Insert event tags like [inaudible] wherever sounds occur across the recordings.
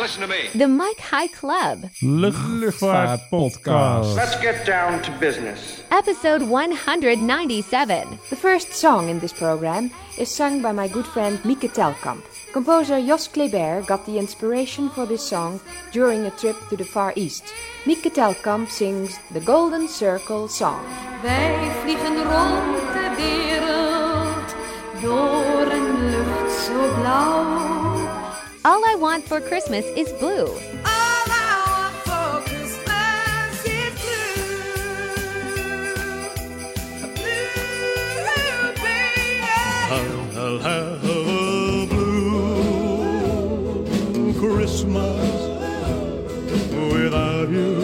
listen to me. The Mike High Club, Luchtvaartpodcast. Let's get down to business. episode 197. The first song in this program is sung by my good friend Mieke Telkamp. Composer Jos Kleber got the inspiration for this song during a trip to the Far East. Mieke Telkamp sings the Golden Circle song. Wij vliegen rond de wereld door een lucht zo blauw. All I Want for Christmas is Blue. All I want for Christmas is blue. Blue, baby. I'll have a blue Christmas without you.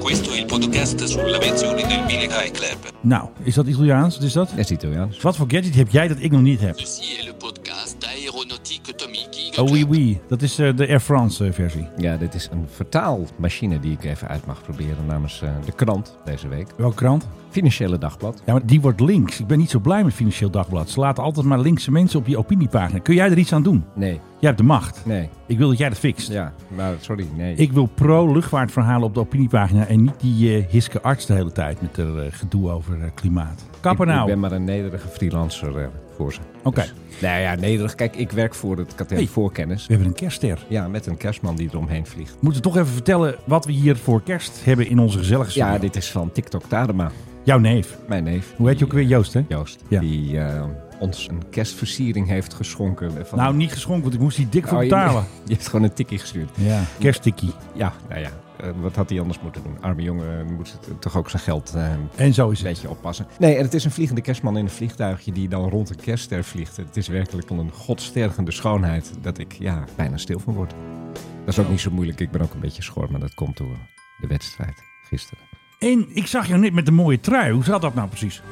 Questo è il podcast sulla pensione del Mile High Club. Nou, is dat Italiaans? Wat is dat? Dat is Italiaans. Wat voor gadget heb jij dat ik nog niet heb? Ceci è il podcast aeronautica Tomiki. Oh, oui, oui. Dat is eh, de Air France eh, versie. Ja, dit is een vertaalmachine die ik even uit mag proberen namens eh, de krant deze week. Welke krant? Financiële Dagblad. Ja, maar die wordt links. Ik ben niet zo blij met Financieel Dagblad. Ze laten altijd maar linkse mensen op die opiniepagina. Kun jij er iets aan doen? Nee, Jij hebt de macht. nee. Ik wil dat jij dat fixt. Ja, maar sorry, nee. Ik wil pro-luchtvaartverhalen op de opiniepagina en niet die eh, Hiske Arts de hele tijd met haar eh, gedoe over eh, klimaat. Kapper Ik- Ik nou. ben maar een nederige freelancer eh, voor ze. Oké. Dus- nou ja, nederig. Kijk, ik werk voor het katheder Hey. Voorkennis. We hebben een kerstster. Ja, met een kerstman die eromheen vliegt. We moeten toch even vertellen wat we hier voor kerst hebben in onze gezellige studio. Ja, dit is van TikTok Tadema, Jouw neef. mijn neef. eh, Hoe heet je ook weer? Joost, hè? Joost. Ja. Die eh, ons een kerstversiering heeft geschonken. Van... Nou, niet geschonken, want ik moest die dik voor Oh, je- betalen. [laughs] Je hebt gewoon een tikkie gestuurd. Ja, kersttikkie. Ja, nou ja. eh, wat had hij anders moeten doen? Arme jongen eh, moet het- toch ook zijn geld eh, een En zo is het. beetje oppassen. Nee, en het is een vliegende kerstman in een vliegtuigje die dan rond een kerstster vliegt. Het is werkelijk een godstergende schoonheid dat ik ja, bijna stil van word. Dat is ook niet zo moeilijk. Ik ben ook een beetje schor, maar dat komt door de wedstrijd gisteren. En ik zag jou net met een mooie trui. Hoe zat dat nou precies?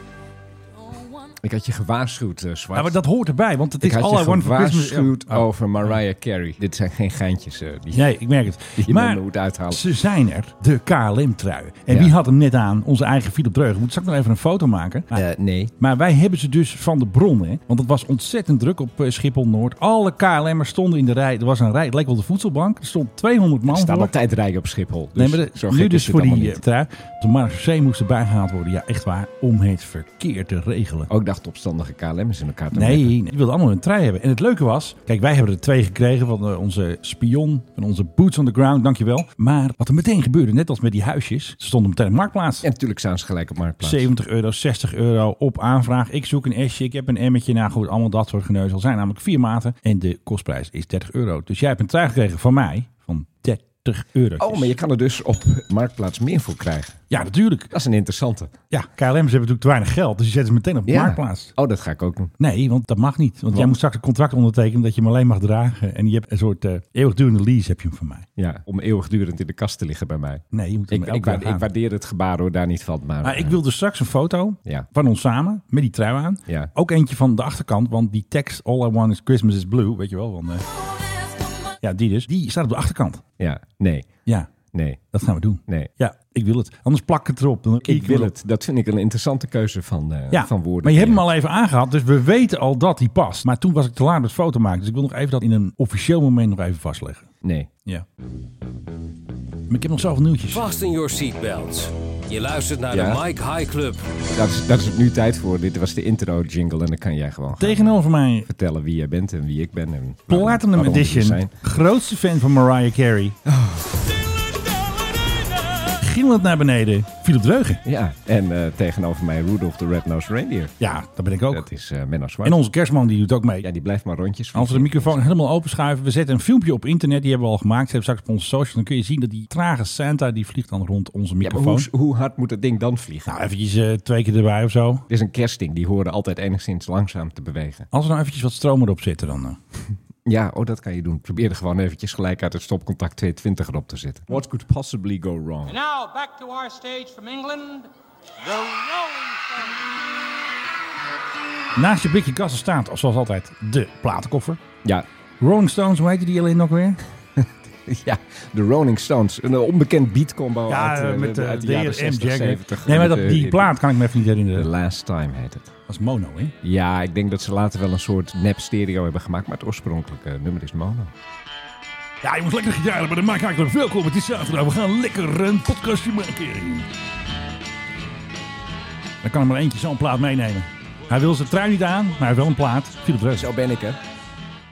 Ik had je gewaarschuwd, eh Zwart. Nou, maar dat hoort erbij, want het ik is had All je I Want for Christmas. gewaarschuwd Oh. over Mariah Carey. Dit zijn geen geintjes eh, die, Nee, ik merk het. die [laughs] je maar maar, moet uithalen. Ze zijn er, de KLM-truien. En Ja. wie had hem net aan? Onze eigen Philip Dreugen. Moet ik nog even een foto maken? Maar, Eh, nee. maar wij hebben ze dus van de bron, hè? Want het was ontzettend druk op eh, Schiphol-Noord. Alle KLM'ers stonden in de rij. Er was een rij, het leek wel de voedselbank. Er stond 200 man Er staan voor. altijd rijen op Schiphol. Dus Nee, maar de- zo nu gek is dus het voor allemaal die eh, niet. trui. De marechaussee moest erbij gehaald worden. Ja, echt waar. Om het verkeer te regelen. Ook dacht opstandige KLM'ers in elkaar te Nee, meppen. nee, die wilden allemaal een trui hebben. En het leuke was, kijk, wij hebben er twee gekregen van eh, onze spion, van onze boots on the ground, dankjewel. Maar wat er meteen gebeurde, net als met die huisjes, ze stonden meteen op de marktplaats. En natuurlijk staan ze gelijk op Marktplaats. 70 euro, 60 euro op aanvraag. Ik zoek een S'je, ik heb een emmetje. Nou goed, allemaal dat soort geneuzel. Er zijn namelijk vier maten en de kostprijs is 30 euro. Dus jij hebt een trui gekregen van mij van 30 euro. Oh, maar je kan er dus op Marktplaats meer voor krijgen. Ja, natuurlijk. Dat is een interessante. Ja, KLM's hebben natuurlijk te weinig geld, dus die zetten ze meteen op de Ja. marktplaats. Oh, dat ga ik ook doen. Nee, want dat mag niet. Want jij Wat? moet straks een contract ondertekenen dat je hem alleen mag dragen. En je hebt een soort eh, eeuwigdurende lease heb je hem van mij. Ja, om eeuwigdurend in de kast te liggen bij mij. Nee, je moet hem Ik, elke ik, dag wa- ik aan. waardeer het gebaar hoor, daar niet van. Maar, Maar ik eh, wil dus straks een foto Ja. van ons samen met die trui aan. Ja. Ook eentje van de achterkant, want die tekst All I Want is Christmas is Blue, weet je wel. Want, eh, ja, die dus. Die staat op de achterkant. Ja, nee, Ja, nee, dat gaan we doen. nee. Ja, ik wil het. Anders plak ik het erop. Dan- Ik, wil het. Dat vind ik een interessante keuze van, eh, Ja, van woorden. maar je hebt hem al even aangehad, dus we weten al dat die past. Maar toen was ik te laat met foto maken, dus ik wil nog even dat in een officieel moment nog even vastleggen. Nee. Ja. Maar ik heb nog zoveel nieuwtjes. Fasten your seatbelts. Je luistert naar Ja. de Mike High Club. Dat is, dat is het nu tijd voor. Dit was de intro jingle en dan kan jij gewoon gaan Tegenover mij vertellen wie jij bent en wie ik ben. En waarom- Platinum waarom we hier Edition. zijn. Oh. Grootste fan van Mariah Carey. Gielend naar beneden. Philip Dreugen. Ja, en eh, tegenover mij Rudolf de Red-Nosed Reindeer. Ja, dat ben ik ook. Dat is eh Menno Zwart. En onze kerstman die doet ook mee. Ja, die blijft maar rondjes. Als we de microfoon helemaal openschuiven. We zetten een filmpje op internet. Die hebben we al gemaakt. Ze hebben straks op onze socials. Dan kun je zien dat die trage Santa die vliegt dan rond onze Ja, maar microfoon. hoe, hoe hard moet dat ding dan vliegen? nou, eventjes eh, twee keer erbij of zo. Het is een kerstding, die horen altijd enigszins langzaam te bewegen. Als we nou eventjes wat stroom erop zetten dan. eh. Ja, oh, dat kan je doen. Probeer er gewoon eventjes gelijk uit het stopcontact 220 erop te zetten. What could possibly go wrong? Now, back to our stage from England, the Rolling Stones. Naast je blikje kassen staat, zoals altijd, de platenkoffer. Ja, [laughs] Rolling Stones, hoe heette die alleen nog weer? ja de Rolling Stones. Een eh, onbekend beatcombo Ja, uit, eh, eh, met uit eh, de de heer jaren M. 60, Jagger. 70. Nee, maar Met, dat, eh, die plaat kan ik me even niet The herinneren. Last Time heet het. Dat is mono, hè? Ja, ik denk dat ze later wel een soort nep stereo hebben gemaakt, maar het oorspronkelijke nummer is mono. Ja, je moet lekker gitaren, maar dat maakt eigenlijk wel welkom. Het is zaterdag, we gaan lekker een podcastje maken. Dan kan er maar eentje zo'n plaat meenemen. Hij wil zijn trui niet aan, maar hij heeft wel een plaat. Philip Reus, Zo ben ik, hè.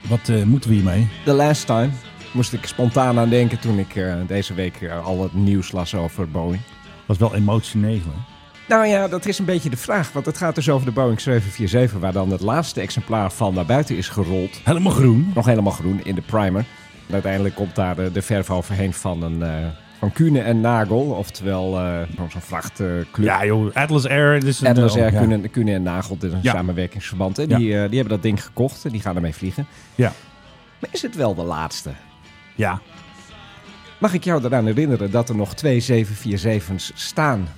wat eh, moeten we hiermee? The Last Time moest ik spontaan aan denken toen ik eh, deze week eh, al het nieuws las over Boeing. Was wel emotioneel. hè? Nou ja, dat is een beetje de vraag, want het gaat dus over de Boeing 747, waar dan het laatste exemplaar van naar buiten is gerold. Helemaal groen. Nog helemaal groen in de primer. En uiteindelijk komt daar eh, de verf overheen van een... eh, van Kuhne en Nagel, oftewel eh, zo'n vrachtclub. Ja joh, Atlas Air. Dit is een, Atlas eh, Air, ja. Kuhne, Kuhne en Nagel, dit is een Ja. samenwerkingsverband. En Ja. die, eh, die hebben dat ding gekocht en die gaan ermee vliegen. Ja. Maar is het wel de laatste? ja, Mag ik jou eraan herinneren dat er nog twee 747's staan?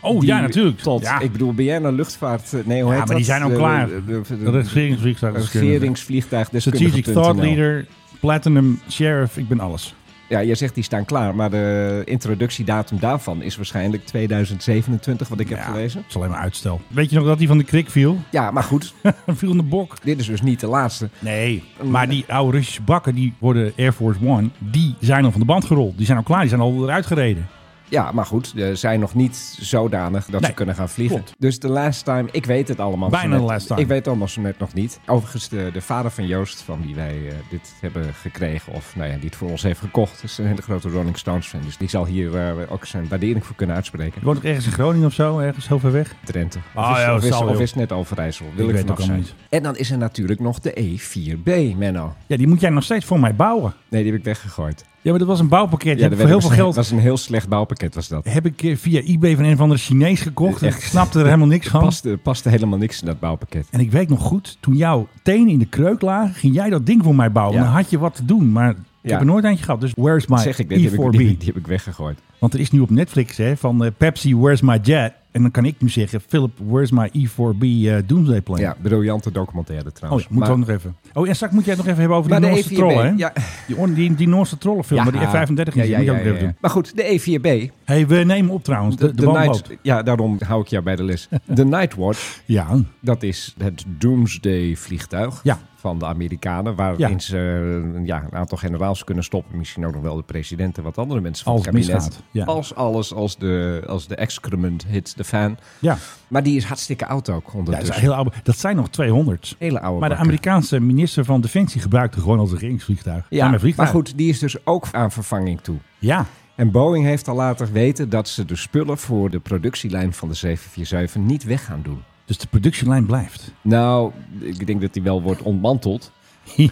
Oh Die ja, natuurlijk. Tot, ja. Ik bedoel, ben jij nou luchtvaart... Nee, hoe heet maar die dat? zijn al De- klaar. De, de, de- De regeringsvliegtuig. is kunnen. regeringsvliegtuigdeskundige.nl. Strategic Thought Leader, Platinum Sheriff, ik ben alles. Ja, jij zegt die staan klaar, maar de introductiedatum daarvan is waarschijnlijk 2027, wat ik heb Ja, gelezen. Het is alleen maar uitstel. Weet je nog dat die van de krik viel? [laughs] Ja, maar goed, [laughs] Hij viel in de bok. dit is dus niet de laatste. Nee. Maar die oude Russische bakken, die worden Air Force One, die zijn al van de band gerold. Die zijn al klaar, die zijn al eruit gereden. Ja, maar goed, ze zijn nog niet zodanig dat Nee, ze kunnen gaan vliegen. klopt. Dus de last time, ik weet het allemaal. zo Bijna net. de last time. Ik weet het allemaal zo net nog niet. Overigens, de, de vader van Joost, van wie wij eh, dit hebben gekregen, of nou ja, die het voor ons heeft gekocht, is een hele grote Rolling Stones fan. Dus die zal hier eh, ook zijn waardering voor kunnen uitspreken. Je woont ook ergens in Groningen of zo, ergens heel ver weg. Drenthe. Of, Ah, is, ja, of, is, zal of wel. is het net Overijssel? Wil Ik ik, weet vanaf ook allemaal zijn. En dan is er natuurlijk nog de E4B, Menno. Ja, die moet jij nog steeds voor mij bouwen. Nee, die heb ik weggegooid. Ja, maar dat was een bouwpakket. dat Ja, voor heel veel geld was een heel slecht bouwpakket, was dat. heb ik eh, via eBay van een of andere Chinees gekocht. Echt. Ik snapte er helemaal niks van. Paste, paste helemaal niks in dat bouwpakket. En ik weet nog goed, toen jouw tenen in de kreuk lagen, ging jij dat ding voor mij bouwen. Ja. Dan had je wat te doen, maar ik Ja. heb er nooit eentje gehad. Dus where's my Dat zeg ik, dit, die heb ik, E4B? die, die heb ik weggegooid. Want er is nu op Netflix hè, van eh, Pepsi, where's my jet? En dan kan ik nu zeggen, Philip, where's my E4B eh, doomsday plan? Oh, Ja, briljante documentaire Oh trouwens. ja, moet maar, ook nog even. Oh, en straks moet jij het nog even hebben over maar die de Noorse E4B, trollen, hè? ja. Die, on- die, die Noorse trollenfilm, waar die F-35 in zit. Ja, ja, moet je ja, ook nog ja, even ja. doen. Maar goed, de E4B. hey, we nemen op trouwens, de, de, woonboot. night, ja, daarom hou ik jou bij de [laughs] les. De Nightwatch, Ja, dat is het Doomsday vliegtuig Ja. van de Amerikanen. Waarin ze eh, ja, een aantal generaals kunnen stoppen. Misschien ook nog wel de president en wat andere mensen van Als het het kabinet. misgaat, ja. Als alles, als de, als de excrement hit de fan. ja. Maar die is hartstikke oud ook ja dat, is ondertussen. een heel oude, dat zijn nog 200. hele oude Maar de bakken. Amerikaanse minister van Defensie gebruikte gewoon als regeringsvliegtuig. ja, Daarmee maar vliegtuig. goed, die is dus ook aan vervanging toe. Ja, En Boeing heeft al later weten dat ze de spullen voor de productielijn van de 747 niet weg gaan doen. dus de productielijn blijft. [laughs] Nou, ik denk dat die wel wordt ontmanteld.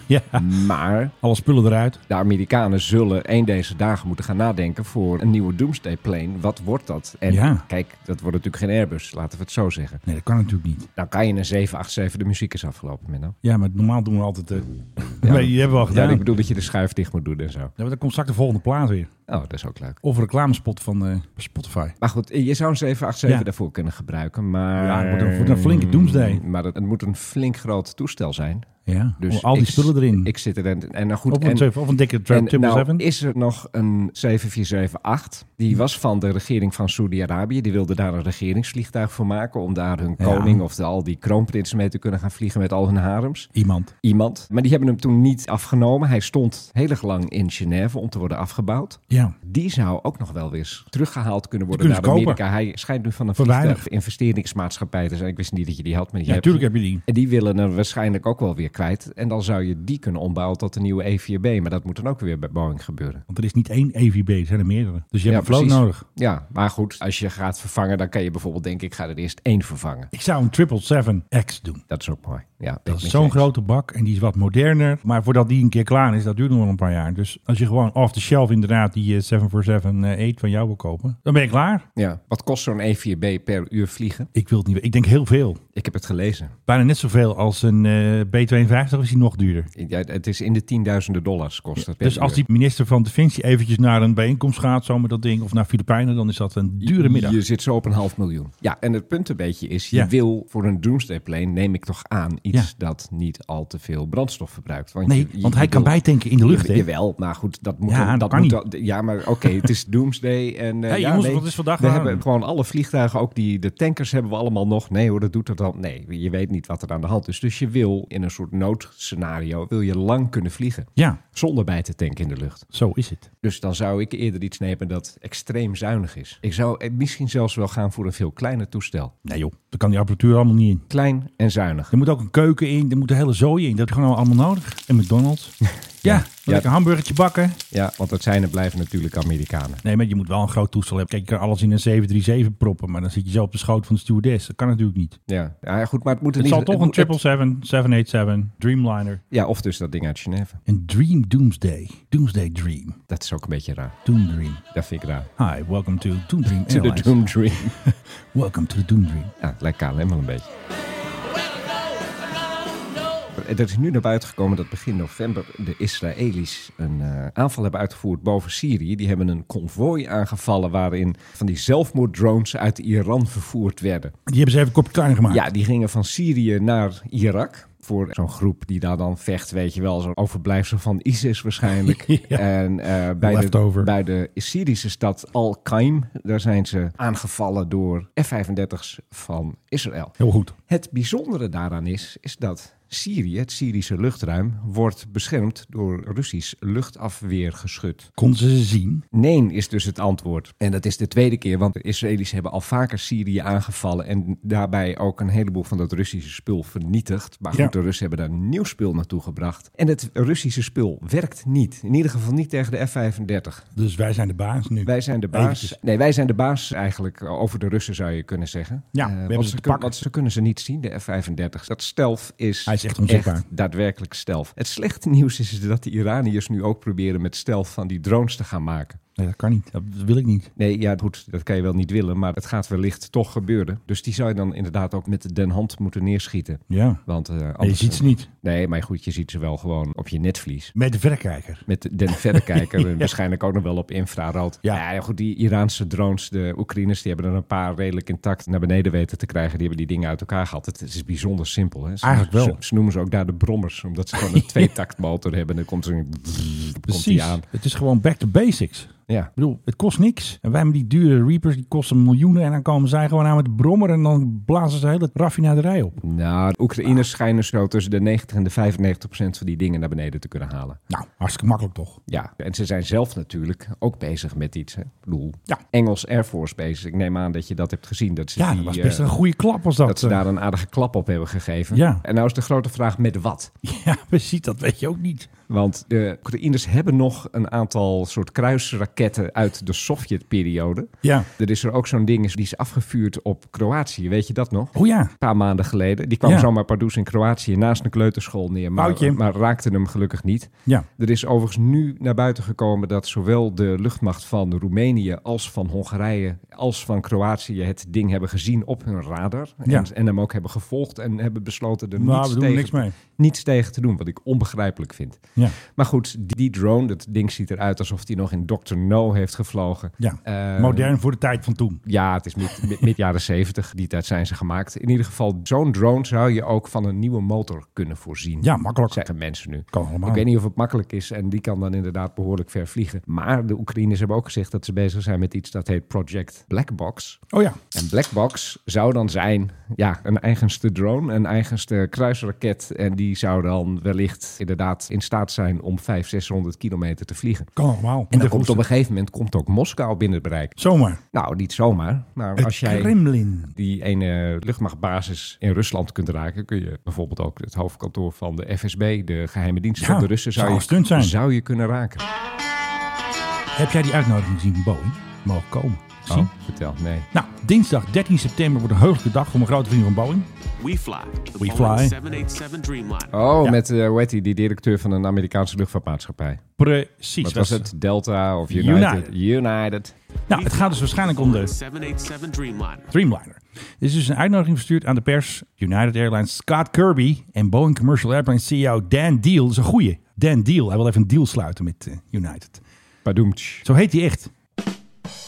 ja, Maar alle spullen eruit. de Amerikanen zullen één deze dagen moeten gaan nadenken voor een nieuwe Doomsday plane. Wat wordt dat? En Ja. kijk, dat wordt natuurlijk geen Airbus, laten we het zo zeggen. Nee, dat kan natuurlijk niet. Dan kan je een 787, de muziek is afgelopen, Menno. Ja, maar normaal doen we [laughs] altijd... eh nee, die hebben we al Ja, gedaan. ik bedoel dat je de schuif dicht moet doen en zo. Ja, maar dan komt straks de volgende plaat weer. Oh, dat is ook leuk. Of een reclamespot van eh, Spotify. Maar goed, je zou een 787 Ja. daarvoor kunnen gebruiken, maar... Mm, Ja, het moet een- het wordt een flinke doomsday. Maar het, het moet een flink groot toestel zijn. Ja, Dus al die ik- spullen erin. Ik zit er en, en nou goed... of, een, en- zeven- of een dikke en Trap 777. nou is er nog een 7478. Die was van de regering van Saudi-Arabië. Die wilde daar een regeringsvliegtuig voor maken. Om daar hun Ja. koning of de, al die kroonprinsen mee te kunnen gaan vliegen met al hun harems. Iemand. Iemand. Maar die hebben hem toen niet afgenomen. Hij stond heel erg lang in Genève om te worden afgebouwd. Ja. Die zou ook nog wel eens teruggehaald kunnen worden Die naar kunnen ze Amerika. Hij schijnt nu van een Voor weinig. vliegtuig- investeringsmaatschappij te zijn. Ik wist niet dat je die had, maar die Ja, hebt natuurlijk heb je die. en die willen er waarschijnlijk ook wel weer kwijt. En dan zou je die kunnen ombouwen tot een nieuwe E4B. Maar dat moet dan ook weer bij Boeing gebeuren. Want er is niet één EVB, er zijn er meerdere. Dus je hebt een vloot precies. nodig. Ja, maar goed, als je gaat vervangen, dan kan je bijvoorbeeld denken... ik ga er eerst één vervangen. Ik zou een 777X doen. Dat is ook mooi. Ja, ben ik Dat is met zo'n je eens. grote bak en die is wat moderner. Maar voordat die een keer klaar is, dat duurt nog wel een paar jaar. Dus als je gewoon off the shelf inderdaad die eh, 747 eh, 8 van jou wil kopen, dan ben je klaar. Ja. Wat kost zo'n E4B per uur vliegen? Ik wil het niet. weten. Ik denk heel veel. Ik heb het gelezen. Bijna net zoveel als een eh, B52 of is die nog duurder. Ja, het is in de tienduizenden dollars kost het per Dus als uur. die minister van Defensie eventjes naar een bijeenkomst gaat, zo met dat ding, of naar Filipijnen, dan is dat een dure middag. Je zit zo op een half miljoen. Ja, en het punt een beetje is, je Ja. wil voor een doomsday plane, neem ik toch aan, iets Ja. dat niet al te veel brandstof verbruikt. Want Nee, je- je- want hij je kan wil- bijtanken in de lucht, Ja, hè? Jawel, maar goed, dat moet... Ja, dan- dat dat kan moet niet. dan- ja, maar oké, [laughs] het is doomsday en... eh, Hey, ja, jongens, nee, wat is vandaag We aan? hebben gewoon alle vliegtuigen, ook die, de tankers hebben we allemaal nog. Nee hoor, dat doet dat Want nee, je weet niet wat er aan de hand is. Dus je wil in een soort noodscenario wil je lang kunnen vliegen. Ja. Zonder bij te tanken in de lucht. Zo is het. Dus dan zou ik eerder iets nemen dat extreem zuinig is. Ik zou eh, misschien zelfs wel gaan voor een veel kleiner toestel. Nee joh, daar kan die apparatuur allemaal niet in. Klein en zuinig. Er moet ook een keuken in, er moet een hele zooi in. Dat is gewoon allemaal nodig. En McDonald's. ja, ja. lekker een hamburgertje bakken. Ja, want dat zijn en blijven natuurlijk Amerikanen. Nee, maar je moet wel een groot toestel hebben. Kijk, je kan alles in een 737 proppen, maar dan zit je zo op de schoot van de stewardess. Dat kan natuurlijk niet. Ja, Ah, ja goed, maar het moet er Het niet... zal toch een moet- 777, 787, Dreamliner. Ja, of dus dat ding uit Genève. Een Dream Doomsday. Doomsday Dream. Dat is ook een beetje raar. Doom Dream. Dat vind ik raar. Hi, welcome to Doom Dream To the Airlines. Doom Dream. [laughs] Welcome to the Doom Dream. Ja, het lijkt KLM wel een beetje. Er is nu naar buiten gekomen dat begin november de Israëli's een eh, aanval hebben uitgevoerd boven Syrië. Die hebben een konvooi aangevallen waarin van die zelfmoorddrones uit Iran vervoerd werden. Die hebben ze even een kopje kleiner gemaakt. Ja, die gingen van Syrië naar Irak. Voor zo'n groep die daar dan vecht, weet je wel, zo'n overblijfsel van ISIS waarschijnlijk. [laughs] Ja. En eh, bij, de, Leftover. bij de Syrische stad Al-Qaim, daar zijn ze aangevallen door F-35's van Israël. Heel goed. Het bijzondere daaraan is, is dat Syrië, het Syrische luchtruim, wordt beschermd door Russisch luchtafweergeschut. Konden ze ze zien? Nee is dus het antwoord. En dat is de tweede keer, want de Israëli's hebben al vaker Syrië aangevallen en daarbij ook een heleboel van dat Russische spul vernietigd. Maar goed, Ja. de Russen hebben daar nieuw spul naartoe gebracht. En het Russische spul werkt niet. In ieder geval niet tegen de F-35. Dus wij zijn de baas nu. Wij zijn de baas. Eventjes. Nee, wij zijn de baas eigenlijk eh, over de Russen, zou je kunnen zeggen. Ja, Eh, we hebben want, ze ze te kun- pakken. want ze kunnen ze niet zien, de F-35. Dat stealth is, Hij is echt onzichtbaar. daadwerkelijk stealth. Het slechte nieuws is [laughs] dat de Iraniërs nu ook proberen met stealth van die drones te gaan maken. Nee, dat kan niet. Dat wil ik niet. Nee, ja goed, dat kan je wel niet willen, maar het gaat wellicht toch gebeuren. Dus die zou je dan inderdaad ook met den hand moeten neerschieten. Ja. Want, eh, je anders- ziet ze niet. Nee, maar goed, je ziet ze wel gewoon op je netvlies Met de verrekijker. met den [laughs] verrekijker en waarschijnlijk ook nog wel op infrarood. Ja. Ja. goed, die Iraanse drones, de Oekraïners, die hebben er een paar redelijk intact naar beneden weten te krijgen. Die hebben die dingen uit elkaar gehad. Het, is bijzonder simpel. Hè? Ze- Eigenlijk wel. Ze, ze noemen ze ook daar de brommers, omdat ze [laughs] gewoon een tweetaktmotor hebben. Dan komt er een... Komt die Precies. aan. Het is gewoon back to basics. Ja. Ik bedoel, het kost niks. En wij met die dure Reapers, die kosten miljoenen. En dan komen zij gewoon aan met de brommer en dan blazen ze de hele raffinaderij op. Nou, de Oekraïners Ah. schijnen zo tussen de 90 en de 95 procent van die dingen naar beneden te kunnen halen. Nou, hartstikke makkelijk toch? Ja, en ze zijn zelf natuurlijk ook bezig met iets. Hè? Ik bedoel, Ja. Engels Air Force bezig. Ik neem aan dat je dat hebt gezien. Dat ze Ja, die, dat was eh, best een goede klap was dat. eh. dat ze daar een aardige klap op hebben gegeven. Oh, Ja. En nou is de grote vraag met wat? [laughs] Ja, precies. Dat weet je ook niet. Want de Oekraïners hebben nog een aantal soort kruisraketten uit de Sovjetperiode. Ja. Er is er ook zo'n ding die is afgevuurd op Kroatië. Weet je dat nog? Oh ja. Een paar maanden geleden. Die kwam Ja. zomaar Pardoes in Kroatië naast een kleuterschool neer. Maar, Foutje. maar raakte hem gelukkig niet. Ja. Er is overigens nu naar buiten gekomen dat zowel de luchtmacht van Roemenië als van Hongarije als van Kroatië het ding hebben gezien op hun radar. Ja. En, en hem ook hebben gevolgd en hebben besloten er Nou, niets, we doen er tegen, niks mee. niets tegen te doen. Wat ik onbegrijpelijk vind. Ja. Maar goed, die, die drone, dat ding ziet eruit alsof die nog in Dr. No heeft gevlogen. ja. Eh, Modern voor de tijd van toen. ja, het is mid, mid, mid jaren zeventig. Die tijd zijn ze gemaakt. In ieder geval, zo'n drone zou je ook van een nieuwe motor kunnen voorzien. Ja, makkelijk. Zeggen mensen nu. Kan allemaal. Ik weet niet of het makkelijk is en die kan dan inderdaad behoorlijk ver vliegen. Maar de Oekraïners hebben ook gezegd dat ze bezig zijn met iets dat heet Project Black Box. Oh ja. En Black Box zou dan zijn, ja, een eigenste drone, een eigenste kruisraket. En die zou dan wellicht inderdaad in staat zijn om 500, 600 kilometer te vliegen. Kan allemaal. En Met dan een komt op roester. een gegeven moment komt ook Moskou binnen het bereik. Zomaar. Nou, niet zomaar. Maar Het als jij Kremlin. die ene luchtmachtbasis in Rusland kunt raken, kun je bijvoorbeeld ook het hoofdkantoor van de FSB, de geheime dienst Ja, van de Russen, zou zou een stunt je, zijn. Oh. zou je kunnen raken. Heb jij die uitnodiging gezien van Boeing? Mogen komen. Zie. Oh, vertel, nee. Nou, dinsdag 13 september wordt een heugelijke dag voor mijn grote vrienden van Boeing. We fly. The We Boeing fly. 787 Dreamliner. Oh, Ja. met, eh hoe heet die, die directeur van een Amerikaanse luchtvaartmaatschappij. Precies. Wat Dat was is- het? Delta of United? United. United. Nou, het gaat dus waarschijnlijk om de 787 Dreamliner. Dreamliner. Er is dus een uitnodiging verstuurd aan de pers. United Airlines Scott Kirby en Boeing Commercial Airlines CEO Dan Deal. Dat is een goeie. Dan Deal. Hij wil even een deal sluiten met eh, United. Padoemtsch. Zo heet hij echt.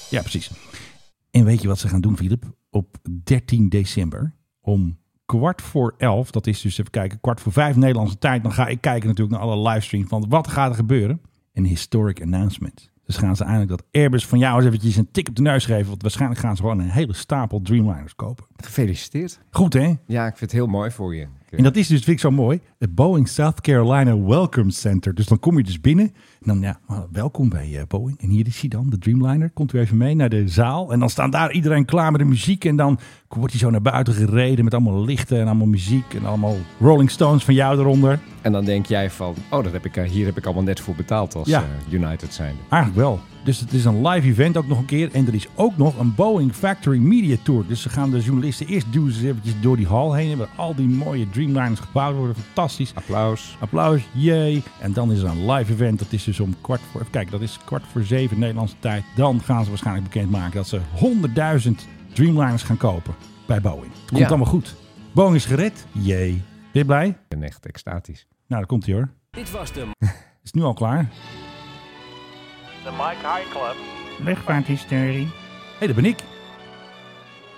Ja, precies. En weet je wat ze gaan doen, Philip? Op 13 december om kwart voor elf, dat is dus even kijken, kwart voor vijf Nederlandse tijd, dan ga ik kijken natuurlijk naar alle livestreams van wat gaat er gebeuren. Een historic announcement. Dat Dus gaan ze eindelijk dat Airbus van jou eens eventjes een tik op de neus geven. Want waarschijnlijk gaan ze gewoon een hele stapel Dreamliners kopen. Gefeliciteerd. Goed hè? Ja, ik vind het heel mooi voor je. En dat is dus, vind ik zo mooi, het Boeing South Carolina Welcome Center. Dus dan kom je dus binnen. En dan, ja, welkom bij eh, Boeing. En hier is hij dan, de Dreamliner. Komt u even mee naar de zaal. En dan staan daar iedereen klaar met de muziek. En dan wordt hij zo naar buiten gereden met allemaal lichten en allemaal muziek. En allemaal Rolling Stones van jou eronder. En dan denk jij van, oh, dat heb ik, eh, hier heb ik allemaal net voor betaald als Ja. eh, United zijnde. Eigenlijk wel. Dus het is een live event ook nog een keer. En er is ook nog een Boeing Factory Media Tour. Dus ze gaan de journalisten eerst duwen ze eventjes door die hal heen. Waar al die mooie Dreamliners gebouwd worden. Fantastisch. Applaus. Applaus, yay. En dan is er een live event. Dat is dus om kwart voor... Even kijken, dat is kwart voor zeven Nederlandse tijd. Dan gaan ze waarschijnlijk bekendmaken dat ze 100.000 Dreamliners gaan kopen bij Boeing. Komt Ja. allemaal goed. Boeing is gered. Yay. Ben je blij? Nou, Ik ben echt extatisch. daar komt hij hoor. Dit was de Is het nu al klaar? The Mike High Club. Luchtvaarthysterie. Hé, hey, dat ben ik.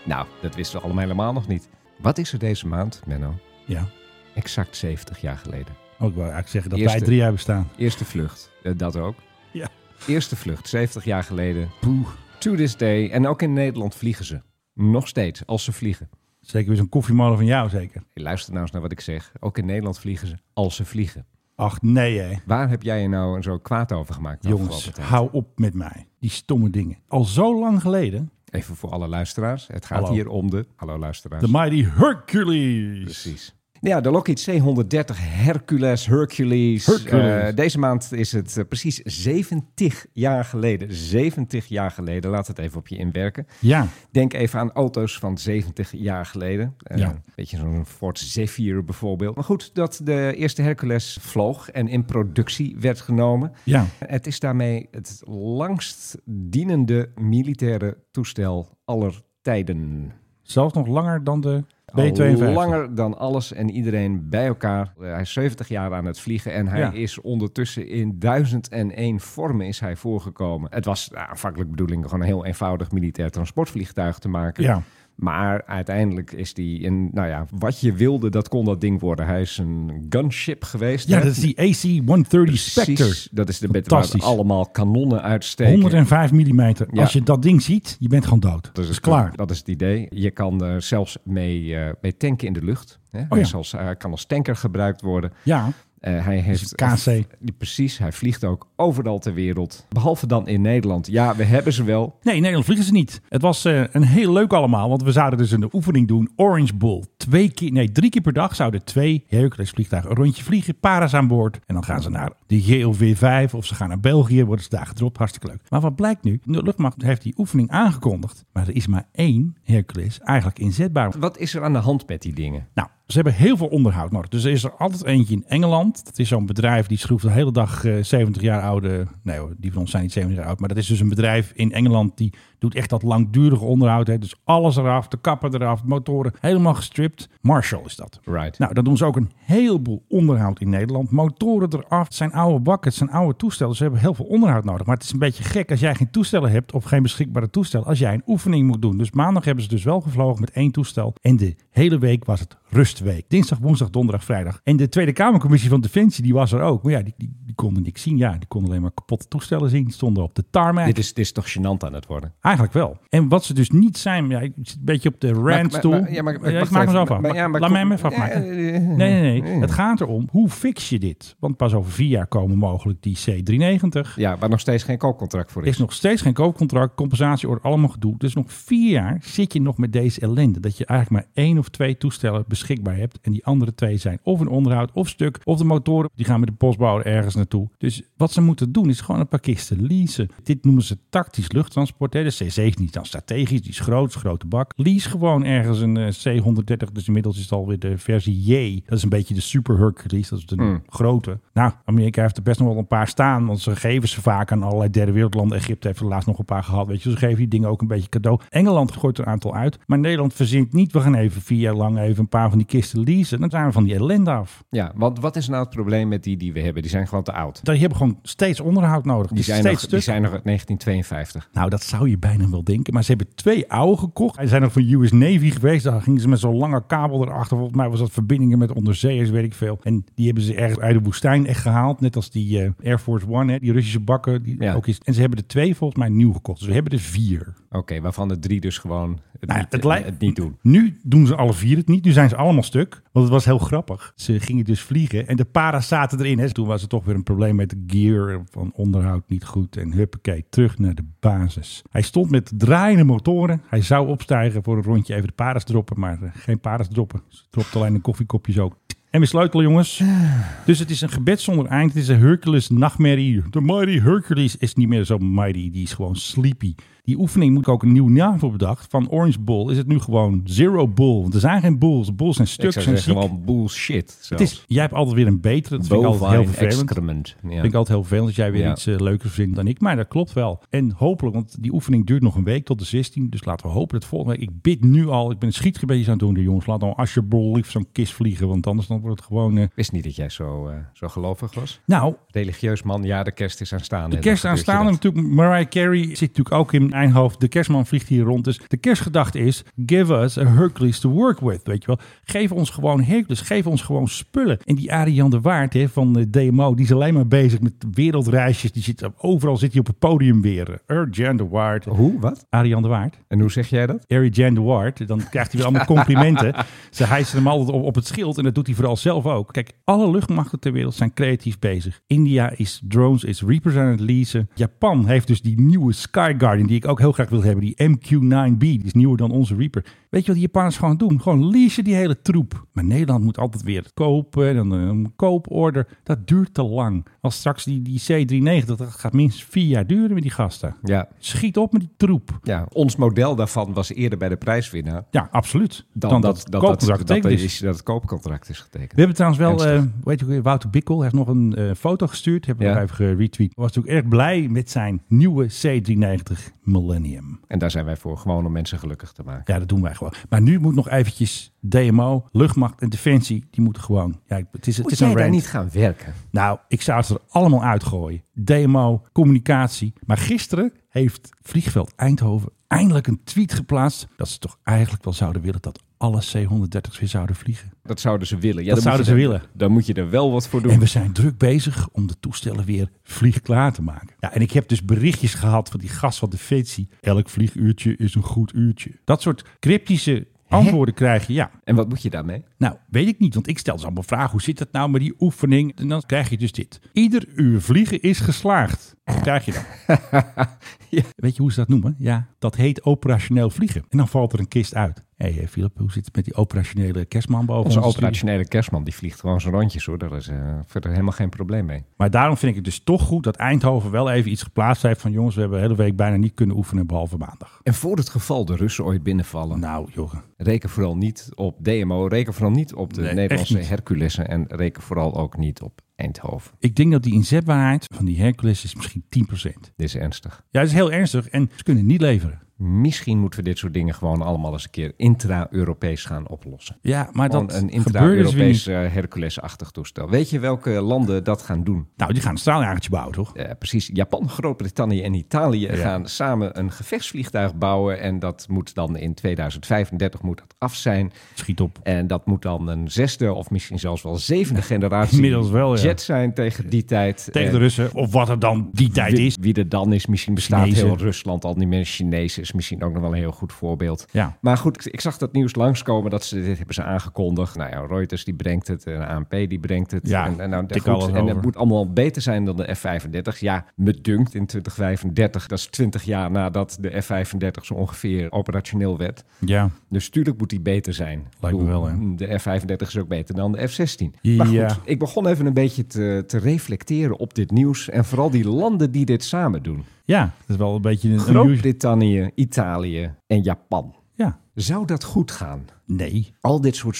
Nou, dat wisten we allemaal helemaal nog niet. Wat is er deze maand, Menno? Ja. Exact 70 jaar geleden. Oh, ik wou eigenlijk zeggen dat Eerste- wij drie jaar bestaan. Eerste vlucht. Eh, dat ook. Ja. Eerste vlucht, 70 jaar geleden. Poeh. To this day. En ook in Nederland vliegen ze. Nog steeds, als ze vliegen. Zeker weer zo'n koffiemolen van jou, zeker. Luister nou eens naar wat ik zeg. Ook in Nederland vliegen ze, als ze vliegen. Ach nee, hè. Waar heb jij je nou zo kwaad over gemaakt? de Jongens, afgelopen tijd? hou op met mij. Die stomme dingen. Al zo lang geleden. Even voor alle luisteraars. Het gaat Hallo. hier om de... Hallo luisteraars. De Mighty Hercules. Precies. Ja, de Lockheed C-130 Hercules, Hercules. Hercules. Eh, deze maand is het eh, precies 70 jaar geleden. 70 jaar geleden. Laat het even op je inwerken. Ja. Denk even aan auto's van 70 jaar geleden. Eh, Ja. Een beetje zo'n Ford Zephyr bijvoorbeeld. Maar goed, dat de eerste Hercules vloog en in productie werd genomen. Ja. Het is daarmee het langst dienende militaire toestel aller tijden. Zelfs nog langer dan de B-52. Al langer dan alles en iedereen bij elkaar. Eh, Hij is 70 jaar aan het vliegen en hij Ja. is ondertussen in 1001 vormen is hij voorgekomen. Het was nou, aanvankelijk bedoeling gewoon een heel eenvoudig militair transportvliegtuig te maken. Ja. Maar uiteindelijk is die in, nou ja, wat je wilde, dat kon dat ding worden. Hij is een gunship geweest. Ja, hè? dat is die AC-130 Precies, Spectre. dat is de bed waar Fantastisch. allemaal kanonnen uitsteken. 105 mm. Ja. Als je dat ding ziet, je bent gewoon dood. Dat is, het- klaar. Dat is het idee. Je kan er zelfs mee, eh, mee tanken in de lucht. Hè? Hij Oh ja. is als- hij kan als tanker gebruikt worden. Ja. Dus Eh, hij heeft eh, KC. die- precies, hij vliegt ook overal ter wereld. Behalve dan in Nederland. Ja, we hebben ze wel. Nee, in Nederland vliegen ze niet. Het was eh, een heel leuk allemaal, want we zouden dus een oefening doen. Orange Bull. Twee keer, nee, drie keer per dag zouden twee Hercules vliegtuigen een rondje vliegen. Paras aan boord. En dan gaan ze naar de GOV-5 of ze gaan naar België. Worden ze daar gedropt. Hartstikke leuk. Maar wat blijkt nu? De luchtmacht heeft die oefening aangekondigd. Maar er is maar één Hercules eigenlijk inzetbaar. Wat is er aan de hand met die dingen? Nou, ze hebben heel veel onderhoud nodig. Dus er is er altijd eentje in Engeland. Dat is zo'n bedrijf die schroeft de hele dag eh, 70 jaar oude. Nee hoor, die van ons zijn niet 70 jaar oud. Maar dat is dus een bedrijf in Engeland die doet echt dat langdurige onderhoud. Hè. Dus alles eraf, de kappen eraf, motoren helemaal gestript. Marshall is dat. Right. Nou, dan doen ze ook een heleboel onderhoud in Nederland. Motoren eraf, het zijn oude bakken, het zijn oude toestellen. Ze hebben heel veel onderhoud nodig. Maar het is een beetje gek als jij geen toestellen hebt of geen beschikbare toestel. Als jij een oefening moet doen. Dus maandag hebben ze dus wel gevlogen met één toestel. En de hele week was het rustweek. Dinsdag, woensdag, donderdag, vrijdag. En de Tweede Kamercommissie van Defensie, die was er ook. Maar ja, die, die, die konden niks zien. Ja, die konden alleen maar kapotte toestellen zien. Die stonden op de tarmac. Dit is, dit is toch gênant aan het worden? Eigenlijk wel. En wat ze dus niet zijn, ja, ik zit een beetje op de maar- randstoel. maar- ja, maar- ik wacht maak hem even. zelf af. Maar- ja, maar Laat mij kom- hem even ja, afmaken. eh, nee, nee, nee. eh. Het gaat erom, hoe fix je dit? Want pas over vier jaar komen mogelijk die C390. Ja, waar nog steeds geen koopcontract voor Er is is. nog steeds geen koopcontract, compensatie, allemaal gedoe. Dus nog vier jaar zit je nog met deze ellende. Dat je eigenlijk maar één of twee toestellen beschikbaar hebt. En die andere twee zijn of een onderhoud, of stuk, of de motoren. Die gaan met de postbouwer ergens naartoe. Dus wat ze moeten doen is gewoon een paar kisten leasen. Dit noemen ze tactisch luchttransport. Hè. De C7 is niet dan strategisch, die is groot, is een grote bak. Lease gewoon ergens een eh, C130. Dus inmiddels is het alweer de versie J. Dat is een beetje de Super Hercules. Dat is de Hmm. grote. Nou, Amerika heeft er best nog wel een paar staan. Want ze geven ze vaak aan allerlei derde wereldlanden. Egypte heeft er laatst nog een paar gehad. Weet je, ze geven die dingen ook een beetje cadeau. Engeland gooit er een aantal uit. Maar Nederland verzint niet. We gaan even vier jaar lang even een paar van die kisten leasen. Dan zijn we van die ellende af. Ja, want wat is nou het probleem met die die we hebben? Die zijn gewoon te oud. Die hebben gewoon steeds onderhoud nodig. Die zijn, steeds nog, die stuk. zijn nog uit 1952. Nou, dat zou je bijna wel denken. Maar ze hebben twee oude gekocht. Ze zijn nog van US Navy geweest. Daar gingen ze met zo'n lange kabel erachter. Volgens mij was dat verbindingen met onderzeeërs, weet ik veel. En die hebben ze ergens uit de woestijn echt gehaald. Net als die eh, Air Force One, hè, die Russische bakken. Die ook is. En ze hebben er twee volgens mij nieuw gekocht. Dus we hebben er vier. Oké, waarvan de drie dus gewoon het, Nou ja, niet, het lijkt- het niet doen. Nu doen ze alle vier het niet. Nu zijn ze allemaal stuk. Want het was heel grappig. Ze gingen dus vliegen en de para's zaten erin. Hè. Toen was er toch weer een probleem met de gear van onderhoud niet goed. En huppakee, terug naar de basis. Hij stond met draaiende motoren. Hij zou opstijgen voor een rondje even de para's droppen. Maar eh, geen para's droppen. Ze dropte alleen een koffiekopje zo. En we sleutelen, jongens. Dus het is een gebed zonder eind. Het is een Hercules nachtmerrie. De Mighty Hercules is niet meer zo mighty. Die is gewoon sleepy. Die oefening moet ik ook een nieuw naam voor bedacht. Van Orange Bull is het nu gewoon Zero Bull. Want er zijn geen bulls. Bulls zijn Ik stuks zou en ziek. zeggen gewoon bullshit. Het zelfs. is, jij hebt altijd weer een betere. Dat vind ik altijd heel Bovine vervelend. excrement, ja. Dat vind ik altijd heel vervelend dat jij weer Ja. iets eh, leukers vindt dan ik. Maar dat klopt wel. En hopelijk, want die oefening duurt nog een week tot de 16. Dus laten we hopen dat volgende week. Ik bid nu al. Ik ben een schietgebedje aan het doen. Jongens, laat dan alsjeblieft zo'n kist vliegen. Want anders dan wordt het gewoon... eh, wist niet dat jij zo, eh, zo gelovig was. Nou. Religieus man, ja, de kerst is aanstaande. De kerst Dan gebeurt je aanstaande dat. natuurlijk. Mariah Carey zit natuurlijk ook in mijn hoofd. De kerstman vliegt hier rond. Dus de kerstgedachte is, give us a Hercules to work with. Weet je wel. Geef ons gewoon Hercules. Geef ons gewoon spullen. En die Ariane de Waard hè, van de DMO, die is alleen maar bezig met wereldreisjes. Die zit, overal zit hij op het podium weer. Ariane de Waard. Hoe? Wat? Ariane de Waard. En hoe zeg jij dat? Ariane de Waard. Dan krijgt hij weer allemaal complimenten. Ze hijsen hem altijd op, op het schild en dat doet hij vooral zelf ook. Kijk, alle luchtmachten ter wereld zijn creatief bezig. India is drones, is Reapers aan het leasen. Japan heeft dus die nieuwe Sky Guardian, die ik ook heel graag wil hebben. Die MQ-9B, die is nieuwer dan onze Reaper. Weet je wat die Japanners gewoon doen? Gewoon leasen die hele troep. Maar Nederland moet altijd weer het kopen en dan eh, een kooporder. Dat duurt te lang. Als straks die, die C-390, dat gaat minstens vier jaar duren met die gasten. Ja. Schiet op met die troep. Ja, ons model daarvan was eerder bij de prijswinnaar. Ja, absoluut. Dan, Dan dat, dus. dat het dat, dat, koopcontract dat, getekend is. is- dat het koopcontract is getekend. We hebben trouwens wel, Ernstig. eh weet je, ook weer, Wouter Bikkel heeft nog een eh, foto gestuurd. Hebben we Ja. nog even geretweet. Was natuurlijk erg blij met zijn nieuwe C390 Millennium. en daar zijn wij voor, gewoon om mensen gelukkig te maken. Ja, dat doen wij gewoon. Maar nu moet nog eventjes DMO, luchtmacht en defensie, die moeten gewoon... Ja, het is, het Moet is jij een daar rant. niet gaan werken? Nou, ik zou het er allemaal uitgooien. DMO, communicatie. Maar gisteren heeft Vliegveld Eindhoven eindelijk een tweet geplaatst... dat ze toch eigenlijk wel zouden willen dat alle C-130's weer zouden vliegen. Dat zouden ze willen. Dat Ja, dan moet zouden je ze er- willen. Dan moet je er wel wat voor doen. En we zijn druk bezig om de toestellen weer vliegklaar te maken. Ja, en ik heb dus berichtjes gehad van die gast van Defensie. Elk vlieguurtje is een goed uurtje. Dat soort cryptische antwoorden krijg je, ja. En wat moet je daarmee? Nou, weet ik niet, want ik stel dus allemaal vragen. Hoe zit dat nou met die oefening? En dan krijg je dus dit. Ieder uur vliegen is geslaagd. Dat krijg je dan. Weet je hoe ze dat noemen? Ja, dat heet operationeel vliegen. En dan valt er een kist uit. Hé, hey, eh, Philip, hoe zit het met die operationele kerstman boven Onze ons studio? operationele kerstman die vliegt gewoon zijn rondjes hoor. Daar is eh, verder helemaal geen probleem mee. Maar daarom vind ik het dus toch goed dat Eindhoven wel even iets geplaatst heeft van jongens, we hebben de hele week bijna niet kunnen oefenen behalve maandag. En voor het geval de Russen ooit binnenvallen. Nou, joh. Reken vooral niet op DMO. Reken vooral niet op de Nee, echt Nederlandse niet. Herculessen. En reken vooral ook niet op Eindhoven. Ik denk dat die inzetbaarheid van die Hercules is misschien 10%. Dit is ernstig. Ja, dat is heel ernstig en ze kunnen niet leveren. Misschien moeten we dit soort dingen gewoon allemaal eens een keer intra-Europees gaan oplossen. Ja, maar Gewoon dat een gebeurde dus weer intra-Europees eh, Hercules-achtig toestel. Weet je welke landen dat gaan doen? Nou, die gaan een straaljagetje bouwen, toch? Eh, precies. Japan, Groot-Brittannië en Italië gaan samen een gevechtsvliegtuig bouwen. En dat moet dan in 2035 moet dat af zijn. Schiet op. En dat moet dan een zesde of misschien zelfs wel zevende generatie Inmiddels wel, ja. jet zijn tegen die tijd. Tegen de En Russen, of wat er dan die tijd wie, is. Wie er dan is, misschien bestaat Chinezen. heel Rusland al niet meer. Chinezen is misschien ook nog wel een heel goed voorbeeld. Ja. Maar goed, ik- ik zag dat nieuws langskomen dat ze dit hebben ze aangekondigd. Nou ja, Reuters die brengt het, en ANP die brengt het. Ja, en, en, nou, tik goed, alles en over. het moet allemaal beter zijn dan de F-35. Ja, me dunkt in 2035, dat is 20 jaar nadat de F-35 zo ongeveer operationeel werd. Ja. Dus tuurlijk moet die beter zijn. Ik me bedoel, wel, hè? De F-35 is ook beter dan de F-16. Maar Ja. goed, ik begon even een beetje te, te reflecteren op dit nieuws. En vooral die landen die dit samen doen. Ja, dat is wel een beetje een unusual- Groot-Brittannië, Italië en Japan. Ja. Zou dat goed gaan? Nee. Al dit soort